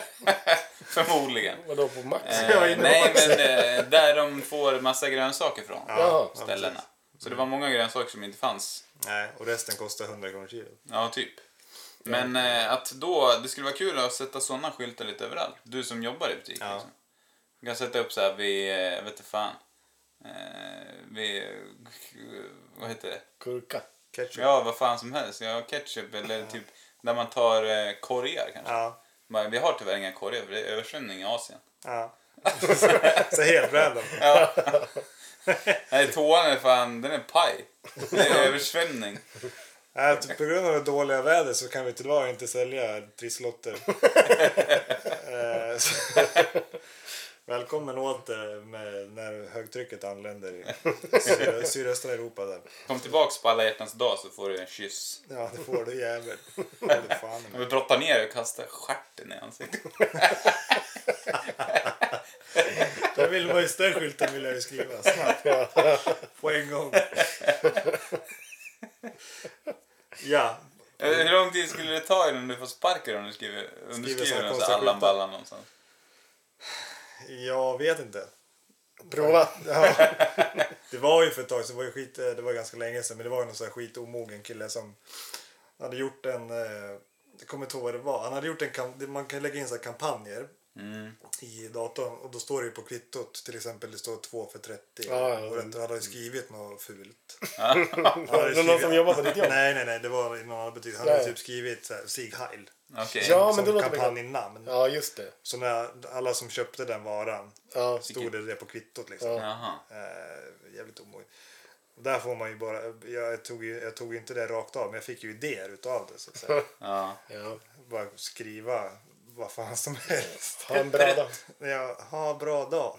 *laughs* förmodligen. Vadå, på Max? *laughs* jag Eh, inne på nej, men eh, där de får massa grönsaker från. Jaha. precis. Ställena. Så det var många grönsaker som inte fanns. Nej, och resten kostar 100 kronor kilo. Ja, typ. Men eh, att då, det skulle vara kul att sätta sådana skyltar lite överallt. Du som jobbar i butik. Ja. Liksom. Du kan sätta upp så här vid, eh, vet du fan. Eh, vid, eh, vad heter det? Kurka. Ketchup. Ja, vad fan som helst. Ja, ketchup eller typ där man tar eh, korgar kanske. Ja. Men vi har tyvärr inga korgar för det är översvämning i Asien. ja. *laughs* så helt random. *laughs* Ja. Nej, toan är fan, den är paj. Det är översvämning. Nej, typ på grund av det dåliga vädret så kan vi tyvärr inte sälja trisslotter. Eh, så- Välkommen åter med när högtrycket anländer i sydö- sydöstra Europa. Där. Kom tillbaks på alla hjärtans dag så får du en kyss. Ja, det får du jävel. Det får du fan i Om mig. vi brottar ner dig och kastar stjärten i ansiktet. Där vill man ju, den skylten vill jag ju skriva snabbt. På en gång. Ja, Eh, Hur lång tid skulle det ta innan du får sparken om du skriver, om du Skriver såna skriver någon sån konstiga här Allan skyltar. Ballan någonstans? jag vet inte. Prova. Ja. Det var ju för ett tag sedan, det var ju skit, eh, det var ganska länge sedan, men det var ju någon sån här skitomogen kille som hade gjort en, eh, jag kommer inte ihåg vad det var, han hade gjort en, kam- man kan lägga in så här kampanjer Mm. i datorn och då står det ju på kvittot till exempel, det står 2 för 30 Ja, ja, och det- han hade ju skrivit något fult. Är Han hade det någon skrivit- som jobbar på ditt jobb? Nej, nej, nej, det var i någon arbetsgivare, han hade Nej. typ skrivit så här, Sieg Heil Okej. Ja, men som det låter kampanjnamn. Ja, just det. Så när alla som köpte den varan Ja, stod det det på kvittot liksom. Ja. Jaha. Eh, jävligt omogen. Och Där får man ju bara, jag tog ju, jag tog ju inte det rakt av, men jag fick ju idéer utav det. Så att *laughs* säga. Ja. ja. bara skriva vad fan som helst. Ha en bra dag. Ja, ha bra dag.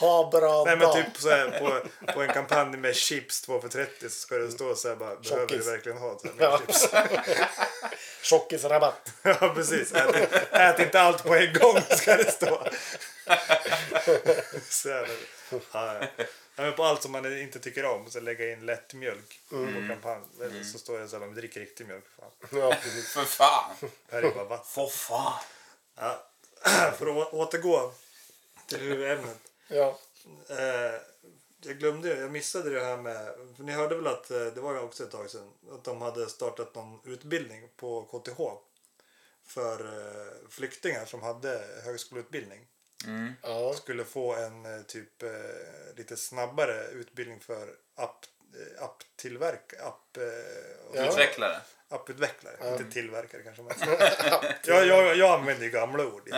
Ha bra Nej men dag. typ så här, på, på en kampanj med chips 2 för 30 så ska det stå så här bara, behöver du Tjockis. verkligen ha så här mycket Ja. chips? Tjockisrabatt. *laughs* ja precis, ät, ät inte allt på en gång ska det stå. *laughs* så här, ja, ja. Nej, men på allt som man inte tycker om så lägga in lättmjölk på kampanj. Eller så står det så här, men drick riktig mjölk för fan. Ja, precis. För fan! Här är bara vatten. *clears throat* För fan! Ja. För att å- återgå till huvudämnet. Ja. Eh, jag glömde ju, jag missade det här med, för ni hörde väl att eh, det var ju också ett tag sedan, att de hade startat någon utbildning på KTH för eh, flyktingar som hade högskoleutbildning. Mm. Ja. Skulle få en eh, typ eh, lite snabbare utbildning för app, eh, apptillverk, app, eh, Ja. Utvecklare. apputvecklare, inte tillverkare kanske *laughs* man säger. jag, jag, jag använder ju gamla ord.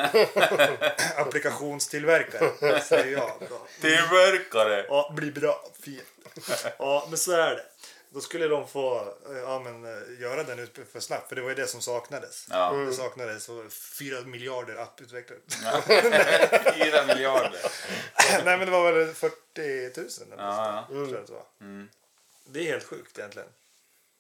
Applikationstillverkare säger jag. Då. Tillverkare! Ja, blir bra. Fint. Ja, men så är det. Då skulle de få eh, ja, men, eh, göra den ut för snabbt, för det var ju det som saknades. Ja. Det saknades eh, fyra miljarder apputvecklare. Fyra miljarder. *laughs* Nej, men det var väl 40 000 eller något sånt Ja, där, tror jag att det var. Mm. Det är helt sjukt egentligen.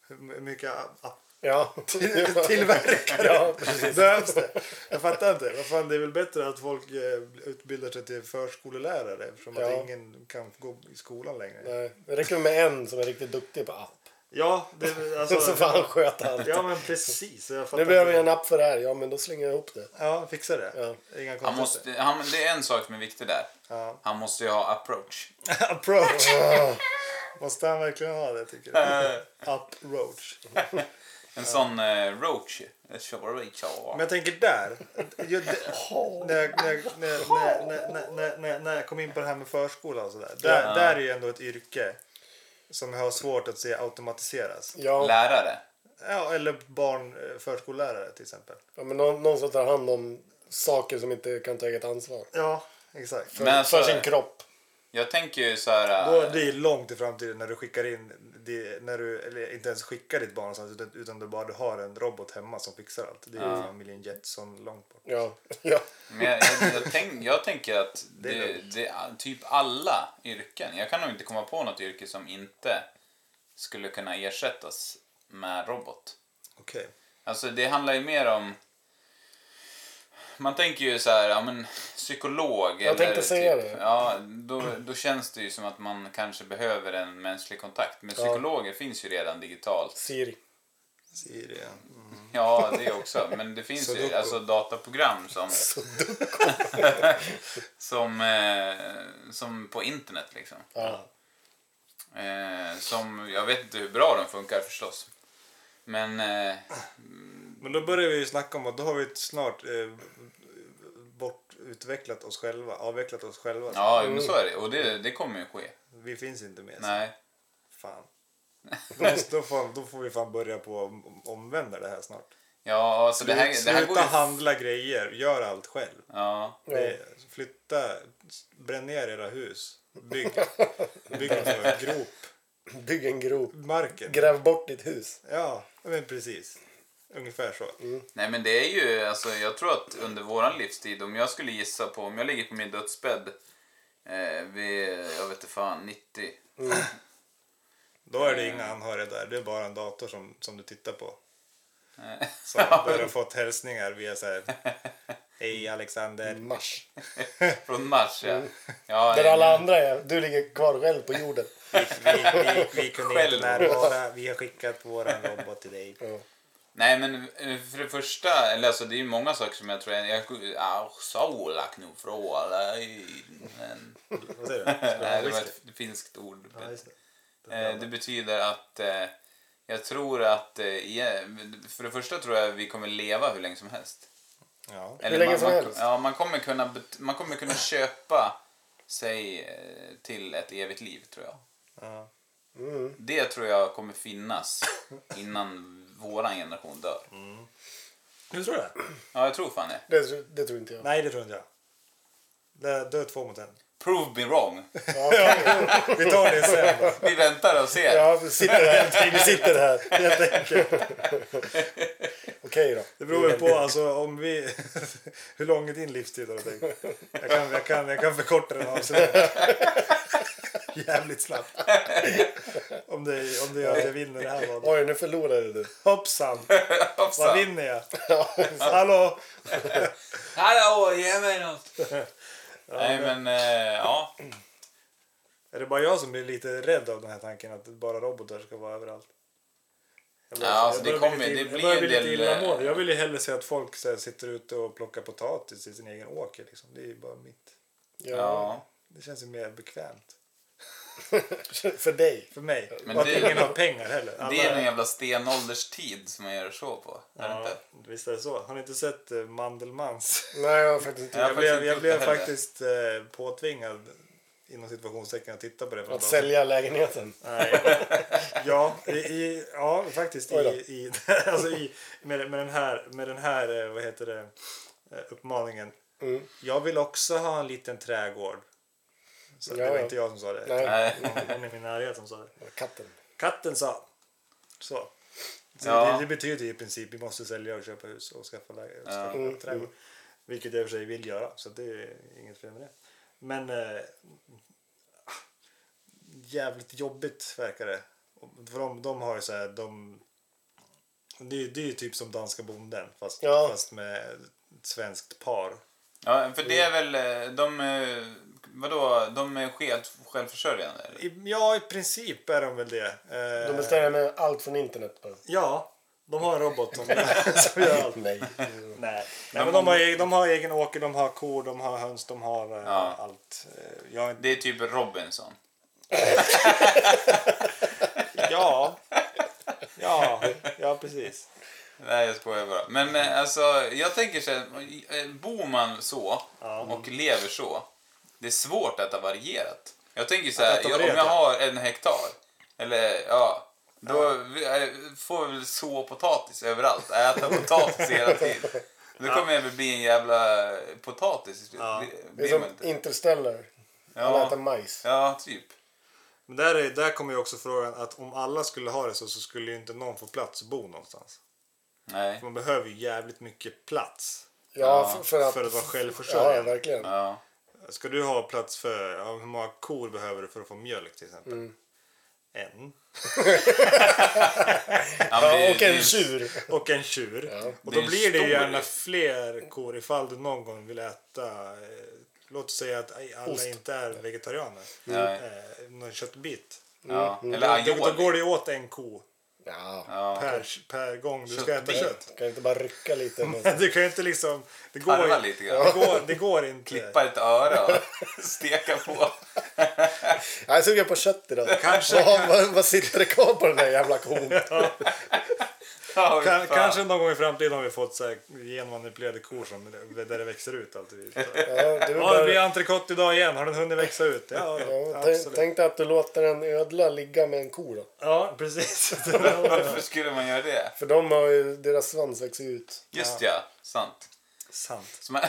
Hur mycket app *laughs* Ja. till- tillverkare Ja, behövs det? Jag fattar inte. Vad fan, det är väl bättre att folk eh, utbildar sig till förskolelärare eftersom Ja. att ingen kan gå i skolan längre. Nej, Det räcker med en som är riktigt duktig på app. Ja, *laughs* det, alltså, Så får han sköta allt. Ja men precis. Jag fattar Nu behöver inte. jag en app för det här. Ja, men då slänger jag ihop det. Ja, fixa det. Inga Han konstigheter. måste, han, det är en sak som är viktig där. Ja. Han måste ju ha approach. *laughs* Approach. måste han verkligen ha det tycker du? Eh. Approach. En sån eh, roach. Ett tjorre-tjorre. Men jag tänker där. ju- det- När jag, när, jag, när, jag- när, när, när, när, när jag kom in på det här med förskola och sådär. Där, Ja. där är ju ändå ett yrke som jag har svårt att se automatiseras. Ja, Lärare. Ja, eller barn, eh, förskollärare till exempel. ja men någon, någon som tar hand om saker som inte kan ta eget ansvar. Ja, exakt. För, Men alltså- för sin kropp. Jag tänker ju så här... Då eh, är det långt i framtiden när du skickar in, det, när du, eller inte ens skickar ditt barn någonstans utan, utan du bara du har en robot hemma som fixar allt. Det är ju familjen Jetson långt bort. Ja. ja. Men jag, jag, jag, tänk, jag tänker att Det är det, det är typ alla yrken. Jag kan nog inte komma på något yrke som inte skulle kunna ersättas med robot. Okej. Alltså det handlar ju mer om... Man tänker ju så här, ja men psykolog eller tänkte säga typ, det. Ja, då, då känns det ju som att man kanske behöver en mänsklig kontakt. Men psykologer finns ju redan digitalt. Siri. Siri. ja. Ja, det också. Men det finns ju Sudoku. alltså dataprogram *laughs* som... *laughs* som, eh, som på internet liksom. Ja. Eh, som, jag vet inte hur bra de funkar förstås. Men eh, Men då börjar vi ju snacka om att då har vi snart eh, bortutvecklat oss själva, avvecklat oss själva. ja, men så är det. Och det, det kommer ju ske. Vi finns inte mer. Nej. *laughs* Fan. Då, måste, då, får, då får vi fan börja på att om- omvända det här snart. Ja, alltså det här, det Sluta här går ju... handla grejer, gör allt själv. Ja. Ja. Det, flytta, bränn ner era hus. Bygg, bygg en grop. Bygg en grop. marken. Gräv bort ditt hus. Ja, men precis. Ungefär så. Nej men det är ju, alltså jag tror att under våran livstid, om jag skulle gissa på, om jag ligger på min dödsbädd eh, vid, jag vet inte fan, 90. Då är det inga anhöriga där. Det är bara en dator som, som du tittar på. eh, Som där du har fått hälsningar via så här. Hej Alexander. Mars. *laughs* Från Mars ja. ja Mm. Där nej, alla men- andra är. Du ligger kvar själv på jorden. Vi, vi, vi, vi kunde Själv. inte närvara. Vi har skickat våran robot till dig. Ja. Nej men eh, för det första, eller alltså det är ju många saker som jag tror jag... jag Ach, sola knufråla i- men- Vad säger du? Nej, det var Whisky. ett finskt ord. Ja, just det. Eh, Det betyder att eh, jag tror att, eh, igen- för det första tror jag vi kommer leva hur länge som helst. Ja. Eller länge man, som man, helst? Ja, man kommer, kunna, bet- man kommer kunna köpa sig eh, till ett evigt liv tror jag. Ja. Mm. Det tror jag kommer finnas innan våran generation dör. Du tror det? Ja, jag tror fan det. Det, tro- det tror inte jag. Nej, det tror inte jag. Det, du är två mot en. Prove me wrong. Ja, okej. Vi tar det sen. *laughs* då. Vi väntar och ser. *laughs* ja, vi sitter här. Vi sitter här helt enkelt. Okej då. Det beror ju på alltså, om vi... *laughs* hur lång är din livstid? Har du tänkt? jag, kan, jag, kan, jag kan förkorta den avsevärt. *laughs* Jävligt snabbt. Om det, om det gör att jag vinner det här valet. Oj, nu förlorade du. Hoppsan! Vad Hoppsan. vinner *laughs* jag? Hallå! Hallå, ge mig något. *laughs* Nej, men eh, ja. Är det bara jag som blir lite rädd av den här tanken att bara robotar ska vara överallt? Jag börjar- Ja, alltså, jag det börjar kommer- bli lite- jag det blir börjar en bli lite del, illamående. eh, Jag vill ju hellre se att folk så här, sitter ute och plockar potatis i sin egen åker. Liksom. Det är ju bara mitt. ja. Det känns ju mer bekvämt. *laughs* För dig. För mig. Men och att det- ingen har pengar heller. Alla, Det är en jävla stenålderstid som man gör så på. Är det ja, inte? visst är det så. Har ni inte sett eh, Mandelmans? Nej, jag har faktiskt inte Jag Jag har faktiskt blev, inte jag gjort blev det heller. faktiskt eh, påtvingad inom situationstecken att titta på det. för Att bara- sälja lägenheten. Nej. *laughs* Ja, i, i, ja faktiskt. I, Oj då. i, *laughs* alltså i, med, med den här, med den här eh, vad heter det, eh, uppmaningen. Mm. Jag vill också ha en liten trädgård. Så det Ja, var ja. inte jag som sa det. Nej, Nej. Någon i min närhet som sa det. katten. Katten sa. Så. Så Ja. det, det betyder ju i princip vi måste sälja och köpa hus och skaffa, läge, och skaffa Mm, trädgård. mm. Vilket jag i och för sig vill göra, så det är inget fel med det. Men eh, jävligt jobbigt verkar det. Och För de, de har ju så här, de, det, är- det är ju typ som danska bonden fast, Ja. fast med ett svenskt par. Ja, för det är väl eh, de... eh, Vadå, de är helt självförsörjande? Eller? I, ja, i princip är de väl det. Eh, De beställer med allt från internet bara. Ja, de har en robot *laughs* som, som gör allt. Nej. Nej, Nej men de har, e- de har egen åker, de har kor, de har höns, de har eh, Ja. allt. Eh, Jag, är inte- Det är typ Robinson. ja. ja, ja precis. Nej, jag skojar bara. Men eh, alltså, jag tänker så här, eh, bor man så och lever så, det är svårt att ha varierat. Jag tänker så här, Att äta jag, om jag varierat, ja. har en hektar, eller ja, då eh, får jag väl så potatis överallt, äta potatis hela tiden. Då kommer jag väl bli en jävla eh, potatis. Ja. Blir- Det är blir som man inte. Interstellar. Alla äter Ja, majs. ja, typ. Men där, är, där kommer ju också frågan att om alla skulle ha det så, så skulle ju inte någon få plats att bo någonstans. Nej. För Man behöver ju jävligt mycket plats Ja, för, för att... för att vara ja, ja, självförsörjande. verkligen. Ja. Ska du ha plats för, ja, hur många kor behöver du för att få mjölk till exempel? En. Ja, men det- Ja, och en det- tjur. Och en tjur. och Det då är en blir det stor ju gärna risk. fler kor ifall du någon gång vill äta, eh, låt oss säga att aj, alla Ost. inte är vegetarianer, Nej. eh, någon köttbit. Ja. Eller Då, då aioli. går det ju åt en ko Ja. Ja. per, per gång du ska äta Köttbit. kött. *laughs* Kan inte bara rycka lite? Men... Du kan ju inte liksom... Det går, Harva ju- lite grann. det går, det går inte. Klippa ett öra och steka på. Jag är sugen på kött idag. Kanske- Vad, vad, vad sitter det kvar på den där jävla kon? Ja, Kan, fan. kanske någon gång i framtiden har vi fått så här genmanipulerade kor som, där det växer ut allt. *laughs* Ja, du Ja, det blir bara... entrecote idag igen. Har den hunnit växa ut? Ja, ja, tänk, absolut. tänk dig att du låter en ödla ligga med en ko då. Ja, *laughs* precis. *laughs* Varför skulle man göra det? För de har ju, deras svans växer ut. Just ja, sant. Sant. Så man,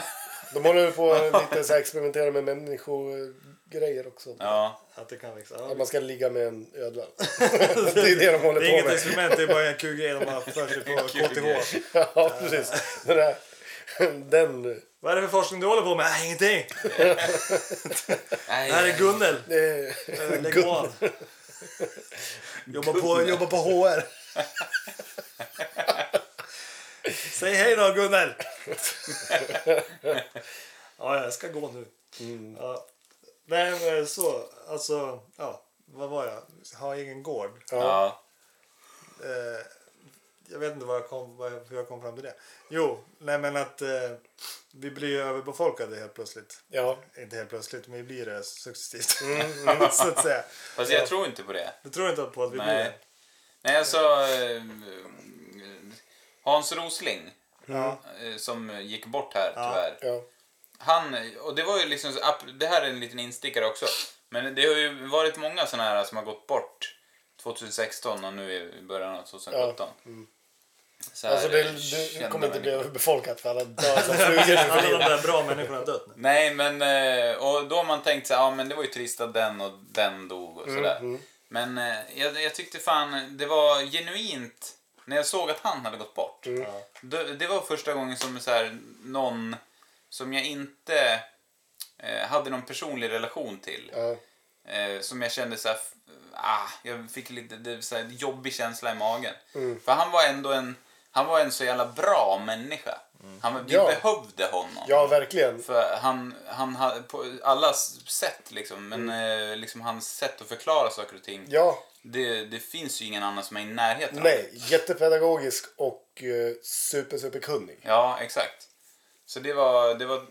De håller ju på att lite så här experimentera med människogrejer också. *laughs* Ja. Att det kan liksom- växa. Att Ja. man ska ligga med en ödla. det är det de Det håller är på inget med. experiment, det är bara en kul grej de har för sig på KTH. *laughs* Ja, precis. Den, där, den Vad är det för forskning du håller på med? Nej, ingenting. Nej, Det här är Gunnel. eh, Eh, Lägg *laughs* av. Jobba på, jobba på HR. Säg hej då, *laughs* Gunnel. ja, jag ska gå nu. Mm. Ja. Nej, men så. Alltså, ja. Vad var jag? Ha egen gård. ja. Eh, jag vet inte vad jag kom, vad, jag- hur jag kom fram till det. Jo, nej men att eh, vi blir ju överbefolkade helt plötsligt. ja. Inte helt plötsligt, men vi blir det successivt. *laughs* så att säga. Fast jag tror inte på det. Du tror inte på att vi blir det? Nej. Nej, alltså... eh, Hans Rosling, Ja. eh, som gick bort här Ja. tyvärr. ja. Han, och det var ju liksom, så- ap- det här är en liten instickare också. Men det har ju varit många såna här som har gått bort 2016 och nu i början av 2017. Så här, Alltså det, det, kända kommer inte bli människor. överbefolkat för alla *laughs* dör som flugor nu Alltså, för Alla de tiden. där bra människorna har dött nu. Nej, men eh, och då har man tänkt så här, ja men det var ju trist att den och den dog och Mm, sådär. Men eh, jag, jag tyckte fan det var genuint när jag såg att han hade gått bort. Mm. Ja. Det, det var första gången som så här, någon som jag inte eh, hade någon personlig relation till. Ja. Eh, som jag kände så här, f- ah, jag fick lite det, så här, jobbig känsla i magen. Mm. För han var ändå en, han var en så jävla bra människa. Han, vi Ja. behövde honom. ja, verkligen. För han, han hade på alla s- sätt liksom, men eh, liksom hans sätt att förklara saker och ting. Mm. Ja, Det, det finns ju ingen annan som är i närheten av nej. Jättepedagogisk och eh, super, super kunnig. Ja, exakt. Så det var, det var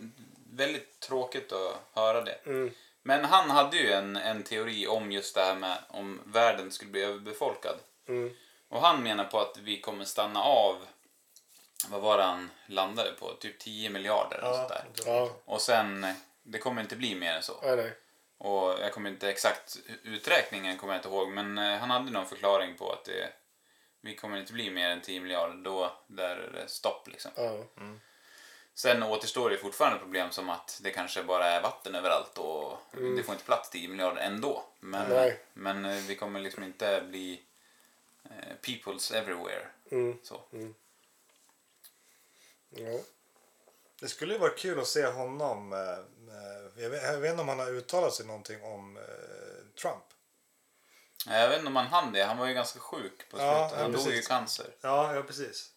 väldigt tråkigt att höra det. Mm. Men han hade ju en, en teori om just det här med om världen skulle bli överbefolkad. Mm. Och han menar på att vi kommer stanna av, vad var det han landade på? Typ 10 miljarder eller sånt Ja. där. Ja, Och sen, det kommer inte bli mer än så. nej, nej. Och jag kommer inte exakt uträkningen kommer jag inte ihåg men eh, han hade någon förklaring på att det, vi kommer inte bli mer än 10 miljarder då där är det stopp liksom. Ja. Sen återstår det fortfarande problem som att det kanske bara är vatten överallt och Mm. det får inte plats 10 miljarder ändå. Men, Nej. men eh, vi kommer liksom inte bli eh, peoples everywhere. Så. Mm, Ja. Det skulle ju vara kul att se honom. eh, eh, Jag vet, jag vet inte om han har uttalat sig någonting om eh, Trump. Nej, Jag vet inte om han hann det, han var ju ganska sjuk på Ja, ja, slutet. han dog ju i precis. cancer. *laughs* Ja, ja precis.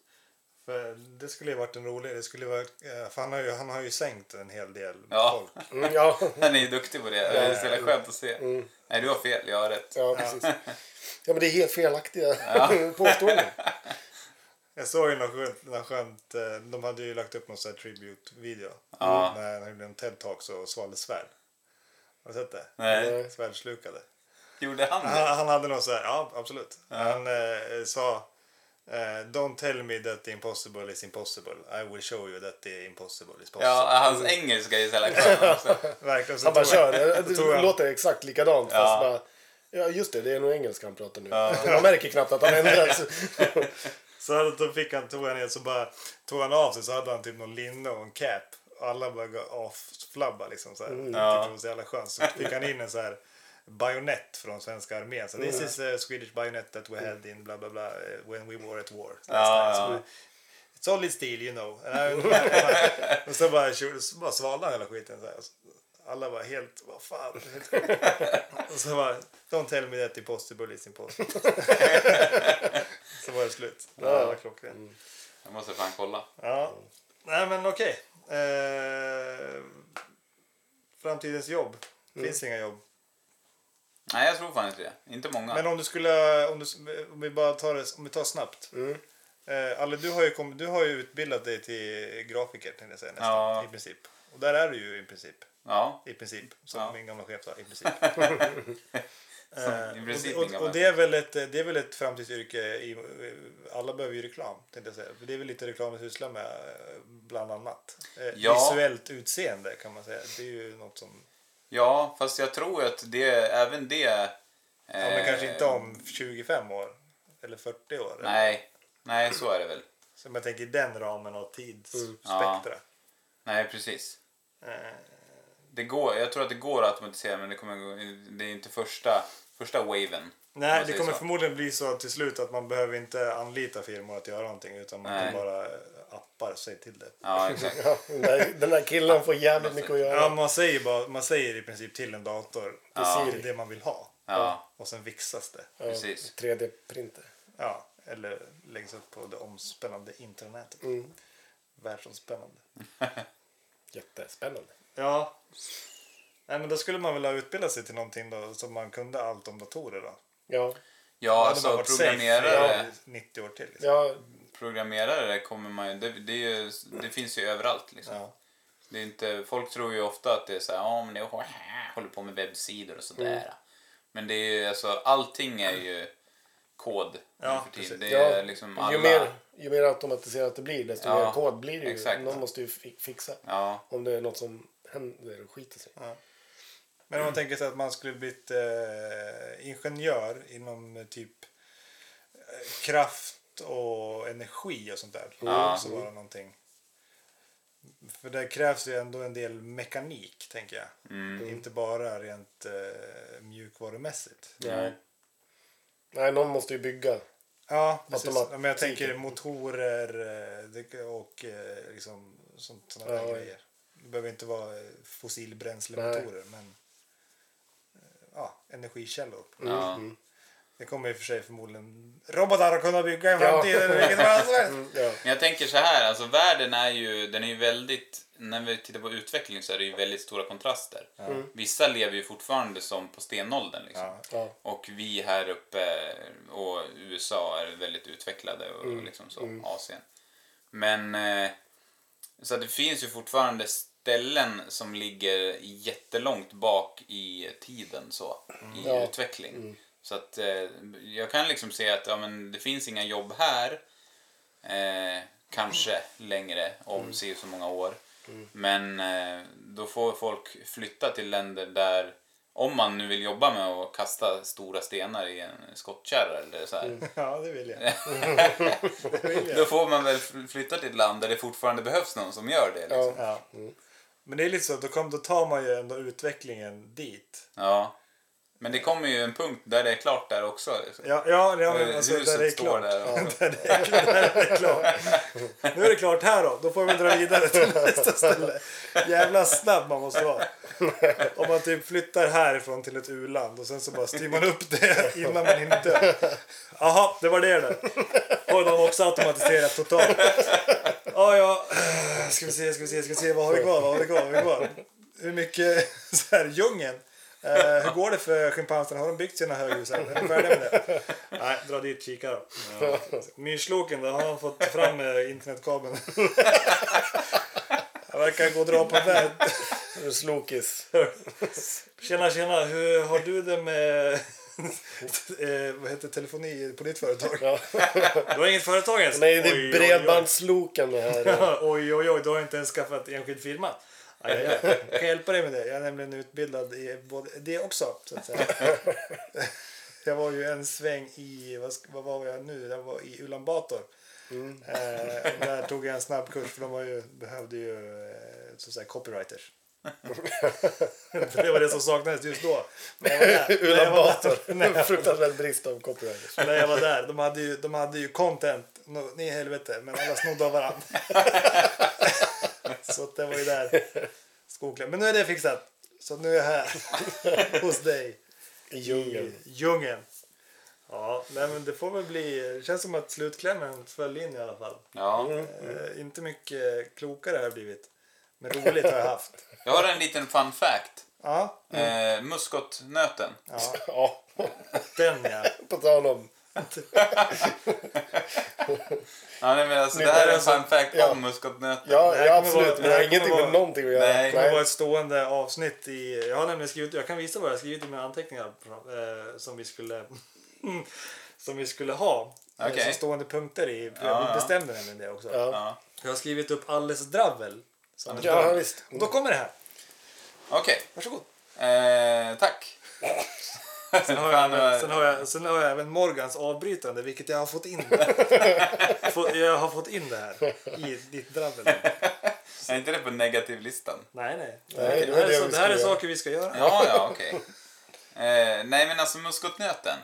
För det skulle ju varit en rolig... Det skulle vara, eh, för han har, ju, han har ju sänkt en hel del Ja. folk. Mm, ja. *laughs* Han är ju duktig på det, det är så jävla skönt att se. Mm. Nej, du har fel, jag har rätt. ja, precis. Ja, men det är helt felaktiga *laughs* påståenden. Jag såg ju något skönt, något skönt eh, de hade ju lagt upp någon sån här tribute-video. Ja. När han gjorde en TED-talk och svalde svärd. Har du sett det? Nej. Svärdslukade. Gjorde han det? Han, han hade något så här, ja absolut. Han eh, sa eh, Don't tell me that the impossible is impossible. I will show you that the impossible is possible. Ja, hans engelska är ju så *laughs* jävla skön också. Verkligen. Så Han bara tog jag- kör. Det- *laughs* så tog Det jag- låter exakt likadant. Ja. Fast bara, ja, just det. Det är nog engelska han pratar nu. *laughs* Man märker knappt att han ändras. *laughs* Så hade, då fick han, tog han ner så bara tog han av sig så hade han typ någon linne och en cap. Och alla bara gav afflabba liksom så här. Jag tyckte det var så jävla skönt. Så fick han in en så här bajonett från svenska armén. Så this is a Swedish bayonet that we had in bla bla bla eh, when we were at war. Så Ja, så ja. bara, Solid steel you know. And I- *laughs* och så bara, så bara svalde han hela skiten. Så här. Och så- Alla var helt, vad fan. Helt sjukt. och så bara, don't tell me that impossible is impossible. så var det slut. Det var klockrent. Jag måste fan kolla. Ja. Nej, men okej. Eh, framtidens jobb. Finns inga jobb. Nej, jag tror fan inte det. Inte många. Men om du skulle... Om, du, om vi bara tar det om vi tar snabbt. Eh, Alle, du har, ju kom, du har ju utbildat dig till grafiker tänkte jag säga, nästan, Ja. i princip. Och där är du ju i princip. Ja. I princip. Som Ja. min gamla chef sa, i princip. *laughs* Eh, i princip och, min och, gamla och det är väl ett, det är väl ett framtidsyrke. I, alla behöver ju reklam, tänkte jag säga. För Det är väl lite reklam vi sysslar med, eh, bland annat. Eh, Ja. Visuellt utseende kan man säga. Det är ju något som... Ja, fast jag tror att det, även det... Eh, Ja, men kanske inte om 25 år. Eller 40 år. Nej, nej så är det väl. Så om jag tänker i den ramen av tidsspektra. Nej, precis. Eh, Det går, jag tror att det går att automatisera men det, kommer, gå- det är inte första, första waven. Om nej, man det säger kommer så. förmodligen bli så till slut att man behöver inte anlita firmor att göra någonting utan man Nej. kan bara eh, appar sig till det. *laughs* Ja, exakt. Ja, den, där, den där killen får jävligt mycket att Ja, göra. man säger, bara, man säger i princip till en dator Ja. till det man vill ha Ja, och sen fixas det. Ja, precis. 3D-printer. Ja, eller läggs upp på det omspännande intranätet. Mm. Världsomspännande. Jättespännande. Ja. Nej, men då skulle man väl ha utbildat sig till någonting då som man kunde allt om datorer då. Ja, Då Ja, hade man alltså varit safe programmerare, i 90 år till. Liksom. ja programmerare kommer man ju, det, det, är ju, det finns ju överallt liksom. Ja. Det är inte, folk tror ju ofta att det är så här, ja men jag *laughs* håller på med webbsidor och sådär. Mm. Men det är ju, alltså allting är ju kod Ja, nu för precis. tiden. Det är Ja, liksom alla. ju, mer, ju mer automatiserat det blir desto Ja, mer kod blir det ju. exakt. Någon måste ju fi- fixa. Ja, Om det är något som händer och skiter sig. Men om man tänker sig att man skulle blivit eh, ingenjör inom eh, typ eh, kraft och energi och sånt där. Ja. Så var det någonting. För där krävs ju ändå en del mekanik, tänker jag. Mm. Inte bara rent eh, mjukvarumässigt. nej. Nej, någon måste ju bygga. Ja, precis. Automat- Ja, Men jag tänker motorer eh, det- och eh, liksom sånt, såna där Ja, ja. grejer. Det behöver inte vara eh, fossilbränslemotorer, men eh, ja, energikällor. Ja. mm. Det kommer i och för sig förmodligen robotar att kunna bygga i Ja. framtiden. vilket fall som helst. Mm, Ja. Men jag tänker så här, alltså världen är ju, den är ju väldigt, när vi tittar på utveckling så är det ju väldigt stora kontraster. Vissa lever ju fortfarande som på stenåldern *laughs* liksom. Ja. Ja. Och vi här uppe och USA är väldigt utvecklade och liksom så, Asien. Men eh, så att det finns ju fortfarande ställen som ligger jättelångt bak i tiden så, i Ja. utveckling. Så att eh, jag kan liksom se att ja, men det finns inga jobb här, eh, kanske längre om si och så många år. Men eh, då får folk flytta till länder där, om man nu vill jobba med att kasta stora stenar i en skottkärra eller så här. *laughs* ja, det *laughs* vill jag. det vill jag. *laughs* Då får man väl fl- flytta till ett land där det fortfarande behövs någon som gör det. Liksom. Ja. Ja. Men det är lite så, då, kom, då tar man ju ändå utvecklingen dit. Ja. Men det kommer ju en punkt där det är klart där också. Liksom. Ja, ja, ja men Eh, alltså, Huset där det är står klart. där. Och, Där det är klart, där det är klart. Nu är det klart här då. Då får vi dra vidare till *laughs* nästa ställe. Jävla snabb man måste vara. Om man typ flyttar härifrån till ett u-land och sen så bara styr man upp det innan man hinner dö. Jaha, det var det då. Och de har också automatiserat totalt. Ja, ja. Ska vi se, ska vi se, ska vi se. Vad har vi kvar? Vad har vi kvar? Vad har vi kvar? Hur mycket så här, djungeln? Eh, hur går det för schimpanserna? Har de byggt sina höghus än? Är de färdiga med det? Nej, dra dit kika då. Myrsloken, då har han fått fram eh, internetkabeln. Han verkar gå och dra på väg. Slokis. Tjena, tjena, hur har du det med *laughs* eh, vad heter telefoni på ditt företag? *laughs* Ja. Du har inget företag ens? Nej, Oj, oj, det oj. är bredbandsloken *laughs* det här. *laughs* Oj, oj, oj, du har inte ens skaffat enskild firma. Aj, aj, aj. Jag kan hjälpa dig med det. Jag är nämligen utbildad i både det också. Så att säga. Jag var ju en sväng i, vad, sk- vad var jag nu? Jag var i Ulan Bator. Eh, och där tog jag en snabb kurs för de var ju, behövde ju eh, så att säga, copywriters. *laughs* För det var det som saknades just då. Men jag var där. Men jag Ulan var där. *laughs* Bator. Fruktansvärd brist av copywriters. När jag var där, de hade ju, de hade ju content, Nå- ni i helvete, men alla snodde av varandra. så att det var ju där. Skokläm. Men nu är det fixat. Så nu är jag här hos dig I i djungeln. djungeln. Ja, nej, men det får väl bli, det känns som att slutklämmen föll in i alla fall. ja. Eh, inte mycket klokare har jag blivit. Men roligt har jag haft. Jag har en liten fun fact. Ja, Eh, muskotnöten. Mm. ja Ja, den ja. på tal om. Ja, nej, men alltså, Men det här det är är en fun fact ja. om muskotnöten. Ja, Det här ja kommer vara- absolut. det Men här det har kommer ingenting vara- med någonting att göra. Nej, det Det var ett stående avsnitt i... Jag har nämligen skrivit... Jag kan visa vad jag har skrivit i mina anteckningar eh, som vi skulle... *laughs* som vi skulle ha. eh, Okej. Som stående punkter i... Ja, ja. vi bestämde nämligen det också. Ja. Ja. Jag har skrivit upp Alles Dravel. Som ett ja, namn. visst. *laughs* Och då kommer det här. Okej. Varsågod. Eh, tack. *laughs* Sen har, jag, eh, även- sen, har jag, sen har jag även Morgans avbrytande, vilket jag har *laughs* fått in. Få- jag har fått in det här i ditt dravel. Är Nej, inte det på negativlistan? nej. Nej, det, här det är, är så, vi det här är ska göra. saker vi ska göra. Ja, ja, okej. Eh, nej, men alltså muskotnöten.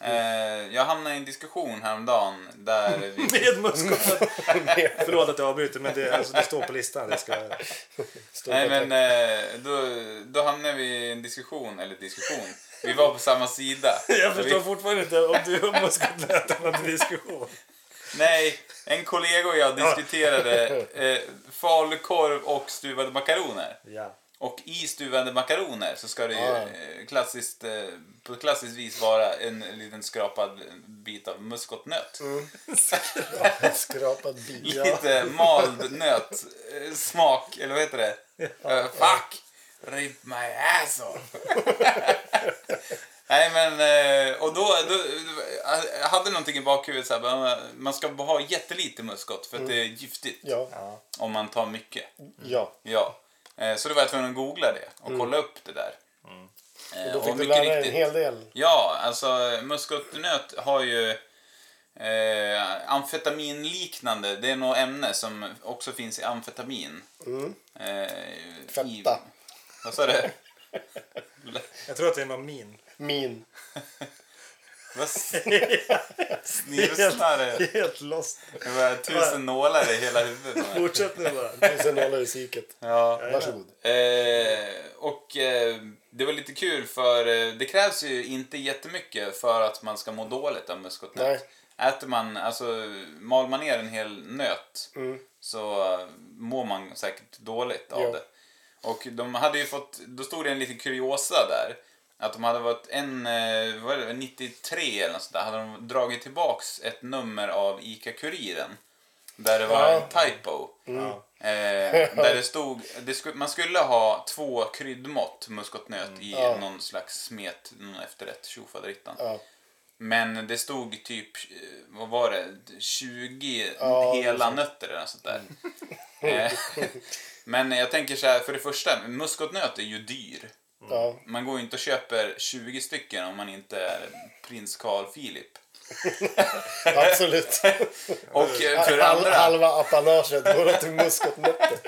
Eh, jag hamnade i en diskussion häromdagen där vi... Med *laughs* muskotnöt. Förlåt att jag avbryter, men det, alltså, det står på listan. Det ska... Stor Nej, kontakt. men eh, då, då hamnade vi i en diskussion, eller diskussion. Vi var på samma sida. *laughs* Jag Och vi- förstår fortfarande inte om du och muskotnöten hade diskussion. Nej, en kollega och *laughs* jag diskuterade eh, falukorv och stuvade makaroner. Ja. Och i stuvade makaroner så ska det ju Ja. eh, klassiskt, eh, på klassiskt vis vara en liten skrapad bit av muskotnöt. Skrapad bil. Lite mald nöt eh, smak, eller vad heter det? Eh, fuck! Rip my ass off! *laughs* Nej men, eh, och då, då eh, jag hade någonting i bakhuvudet så här, bara, man ska bara ha jättelite muskot för att det är giftigt Mm. Ja, Ja. om man tar mycket. ja. Ja. Eh, Så då var jag tvungen att googla det och kolla upp det där. Eh, Mm. Då fick du mycket lära dig en riktigt- hel del. Ja, alltså muskotnöt har ju eh, amfetaminliknande. Det är något ämne som också finns i amfetamin. Mm. Eh, i- Fetta. Vad sa du? Jag tror att det är någon *laughs* min. Min. Vad *laughs* s- Snivsnare. Helt lost. Det *laughs* var tusen nålar i hela huvudet. på mig. Fortsätt nu bara. Och sen håller i psyket. Ja. Varsågod. Eh, och eh, det var lite kul för eh, det krävs ju inte jättemycket för att man ska må dåligt av muskotnöt. Nej. Äter man, alltså mal man ner en hel nöt Mm. så eh, mår man säkert dåligt av Ja. det. Och de hade ju fått, då stod det en liten kuriosa där. Att de hade varit en, eh, vad är det, 93 eller något sånt där, hade de dragit tillbaks ett nummer av ICA-Kuriren. Där det var Ja. Mm. en typo. Ja. Eh, där det stod, det sku, man skulle ha två kryddmått muskotnöt i Mm, Ja. någon slags smet, någon efterrätt, tjofaderittan. Ja. Men det stod typ, eh, vad var det, 20 Ja, hela nötter eller något sånt där. Mm. *laughs* Eh, Men jag tänker så här, för det första, muskotnöt är ju dyr. Ja. Man går ju inte och köper 20 stycken om man inte är prins Carl Philip. Absolut. Och eh, för det Hal- andra... halva apanaget går åt till muskotnötter.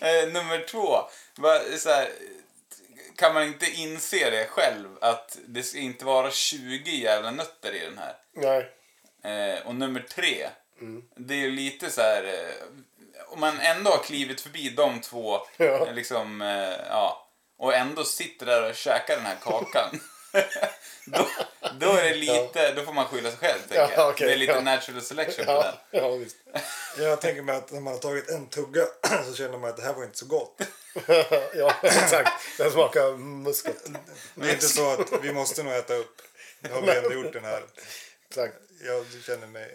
Eh, nummer två. Va, så här, kan man inte inse det själv? Att det ska inte vara 20 jävla nötter i den här. Nej. Eh, och nummer tre. Mm. Det är ju lite så här... Eh, om man ändå har klivit förbi de två. Ja. eh, Liksom, eh, ja, och ändå sitter där och käkar den här kakan. *laughs* då, då, är det lite, då får man skylla sig själv. Tänker Ja, jag. okej, det är lite ja. natural selection på den. Ja, ja visst. *laughs* Jag tänker mig att när man har tagit en tugga *clears throat* så känner man att det här var inte så gott. ja, exakt. Den smakar muskot. Det är inte så att vi måste nog äta upp. Nu har vi ändå gjort den här. Exakt. Jag känner mig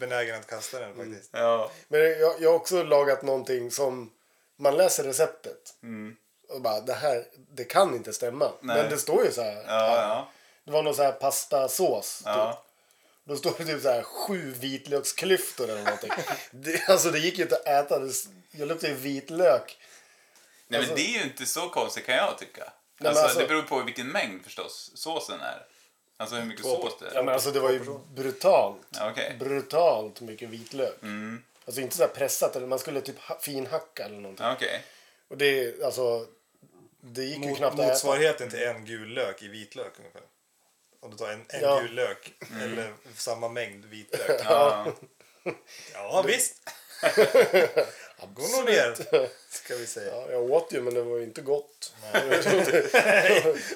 benägen att kasta den faktiskt. Ja. Men jag, jag har också lagat någonting som man läser receptet Mm. och bara det här, det kan inte stämma. Men det står ju så här. Ja, ja. Det var någon så här pastasås. Typ. Ja. Då står det typ så här sju vitlöksklyftor eller någonting. *laughs* det, alltså det gick ju inte att äta. Det, s- jag luktade ju vitlök. Nej Alltså- men det är ju inte så konstigt kan jag tycka. men alltså, alltså- det beror på vilken mängd förstås såsen är. Alltså hur mycket sås det Ja, är. men alltså det var ju brutalt. Ja, Mm. Okej. Brutalt mycket vitlök. Alltså inte så här pressat. Eller man skulle typ ha, finhacka eller någonting. Ja, Okej. Och det, alltså, det gick ju Mot, knappt att äta. motsvarigheten till en gul lök i vitlök ungefär. Om du tar en, en Ja. gul lök eller samma mängd vitlök. Mm. Ja. Ja visst. *laughs* Gå nog ner ska vi säga. Ja, jag åt ju men det var ju inte gott.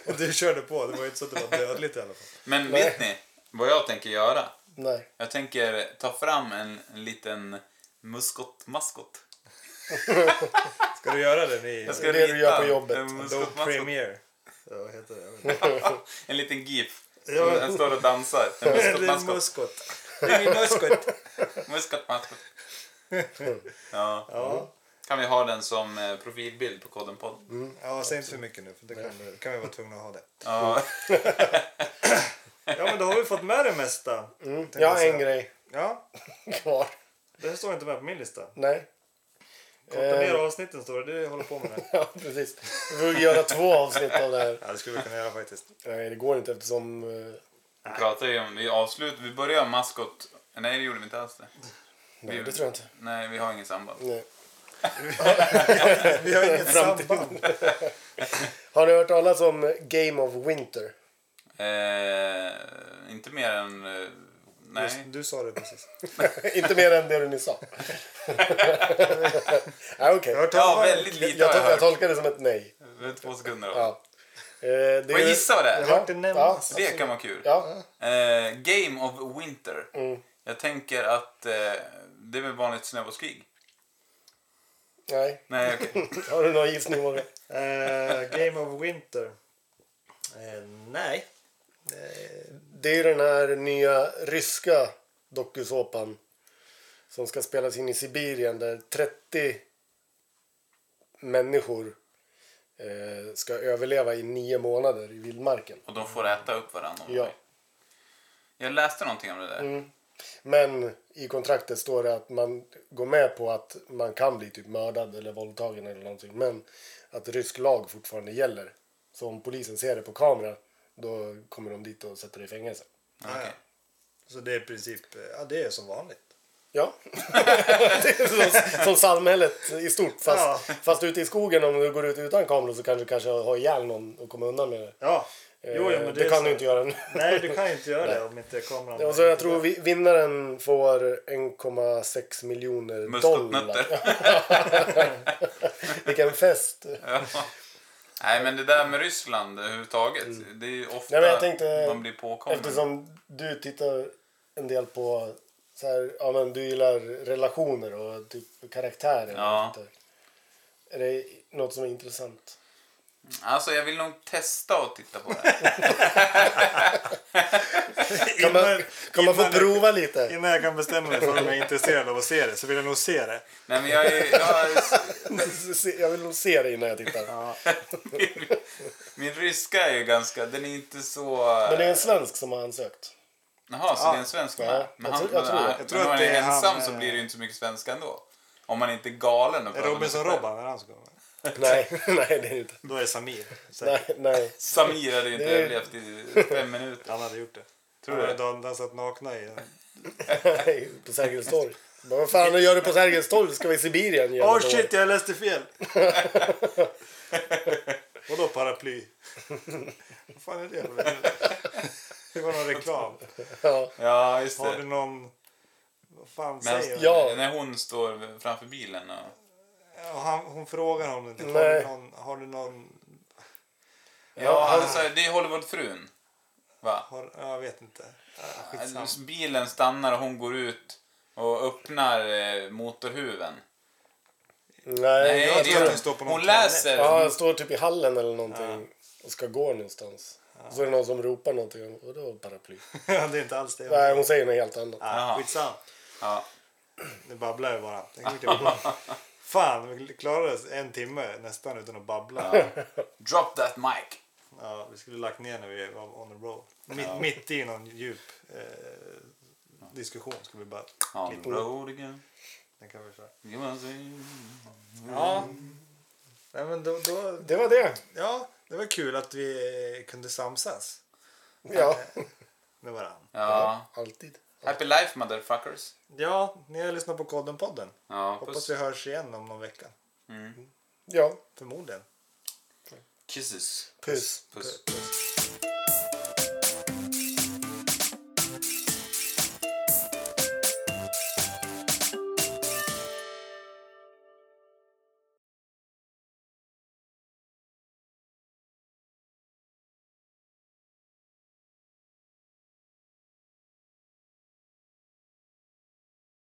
Och du körde på. Det var ju inte så att det var dödligt i alla fall. Men vet ni vad jag tänker göra? Nej. Jag tänker ta fram en, en liten muskot maskot. Ska du göra den i Jag Det är det du rita gör på jobbet. En, Adobe muskotmaskot. Premiere? Ja, vad heter det? Jag vet *laughs* inte. *laughs* en liten GIF. Ja. Den står och dansar. *laughs* En Det är muskot en maskot. muskot. Det är min muskot. Muskot *laughs* maskot. Ja. Ja. Kan vi ha den som eh, profilbild på koden podd? Mm. ja, säg inte för mycket nu för det kan, vi- kan vi vara tvungna att *laughs* ha det. Ja. Ja, men då har vi fått med det mesta. Mm. tänkte Jag har säga. en grej Ja, kvar. det här står inte med på min lista. Nej. Korta Eh. ner avsnitten står det, det håller på med det. *laughs* Ja, precis. Vi får göra två avsnitt av det här. Ja, det skulle vi kunna göra faktiskt. Nej, det går inte eftersom... eh, Vi pratar ju om, vi avslut, vi börjar maskot. Nej det gjorde vi inte alls det. Nej, det tror jag inte. Nej, vi har ingen samband. Nej. Vi har inget samband. Har ni hört talas om Game of Winter? *laughs* Eh, inte mer än... Eh, Just, nej. du sa det precis. inte mer än det du *laughs* nyss sa. ja, Okej. Jag har hört Ja, talas- väldigt lite Jag, har tol- jag jag hört. tolkar det som ett nej. Vänta två sekunder då. Ja. Eh, det Får jag är- gissa vad det är? Jag har hört det nämnas. Det kan vara kul. Ja. Eh, Game of Winter. Mm. Jag tänker att eh, det är väl vanligt snöbollskrig? Nej. Nej, *laughs* okej. Har du någon gissning Morgan? Eh, Game of Winter. Eh, nej. Eh, Det är ju den här nya ryska dokusåpan som ska spelas in i Sibirien där 30 människor eh, ska överleva i nio månader i vildmarken. Och de får äta upp varandra. om de Ja. Mm. vill. Jag läste någonting om det där. Men i kontraktet står det att man går med på att man kan bli typ mördad eller våldtagen eller någonting. Men att rysk lag fortfarande gäller. Så om polisen ser det på kamera då kommer de dit och sätter dig i fängelse. Ah, Ja, okej. Så det är i princip, eh, ja det är som vanligt. Ja. *laughs* det är som, som samhället i stort. Fast, Ja. fast ute i skogen om du går ut utan kamera så kanske du kanske har ihjäl någon och kommer undan med det. Ja, Eh, jo, jo, men det, det, är kan så. du inte göra nu. Nej, du kan ju inte göra det om inte kameran... *laughs* Och så jag tror vi, vinnaren får 1,6 miljoner dollar. Muskotnötter. *laughs* Vilken fest! *laughs* Ja. Nej, men det där med Ryssland överhuvudtaget. Det är ju ofta Mm. Nej, men jag tänkte- man blir påkommen. Eftersom du tittar en del på så här, ja, men du gillar relationer och typ karaktärer. och Ja. sånt där. Är det något som är intressant? Alltså, jag vill nog testa att titta på det. Kan man, Innan- kan man få innan- prova lite? *laughs* Innan jag kan bestämma mig för om jag är intresserad av att se det så vill jag nog se det. *laughs* Nej, men jag är... Jag är Se- Jag vill nog se det innan jag tittar. *laughs* min ryska är ju ganska... Den är inte så... Men det är en svensk som har ansökt. Jaha, så det är en svensk med? Ja, men jag han, tror- jag tror det. men, Jag tror men om att man det är är han, ensam eh, så blir det ju inte så mycket svenska ändå. Om man inte är galen och Är pratar med sig själv. Robinson-Robban, är det han som kommer? Nej, *laughs* nej det är det inte. Då är det Samir. säkert. Nej, *laughs* nej. Samir hade ju inte Det är- överlevt i fem minuter. Han hade gjort det. Tror Tror du du det? det? Han hade satt nakna i... nej på Sergels torg. Men vad fan gör du på Sergels torg? Ska vi i Sibirien? göra Åh det då? shit, jag läste fel! *laughs* Vadå paraply? Vad fan är det? Det var någon reklam. Ja. Ja, just Har du det. någon... Vad fan Men säger han, hon? Ja. När hon står framför bilen och... Och han, hon frågar honom inte. Har Nej. du någon... Har du någon Ja, han sa det är Hollywoodfrun. Va? har, jag vet inte. Äh, Skitsamma. Bilen stannar och hon går ut och öppnar eh, motorhuven. Nej, Nej, jag det tror är, hon står på någon hon läser. Ja, han står typ i hallen eller någonting och ska gå någonstans. Så är det någon som ropar någonting. Och då paraply? *laughs* det är inte alls det. Nej, hon säger något helt annat. Jaha. Ah, skitsamma. Ja. Nu babblar jag bara. Det är klart *laughs* jag babblar. Fan, vi klarade oss en timme nästan utan att babbla. Ja. Drop that mic. vi skulle lagt ner när vi var on the road. Mitt, mitt i någon djup eh, diskussion skulle vi bara... On the road again. Den kan vi köra. You wanna see? Mm. Ja. Nej, men då, då, Det var det. ja, det var kul att vi kunde samsas *laughs* Ja, med varandra. Ja. alltid. Happy life motherfuckers. Ja, ni har lyssnat på Kodden-podden. Ja, Hoppas puss. vi hörs igen om någon vecka. Ja, Förmodligen. Kisses. puss. Puss. puss.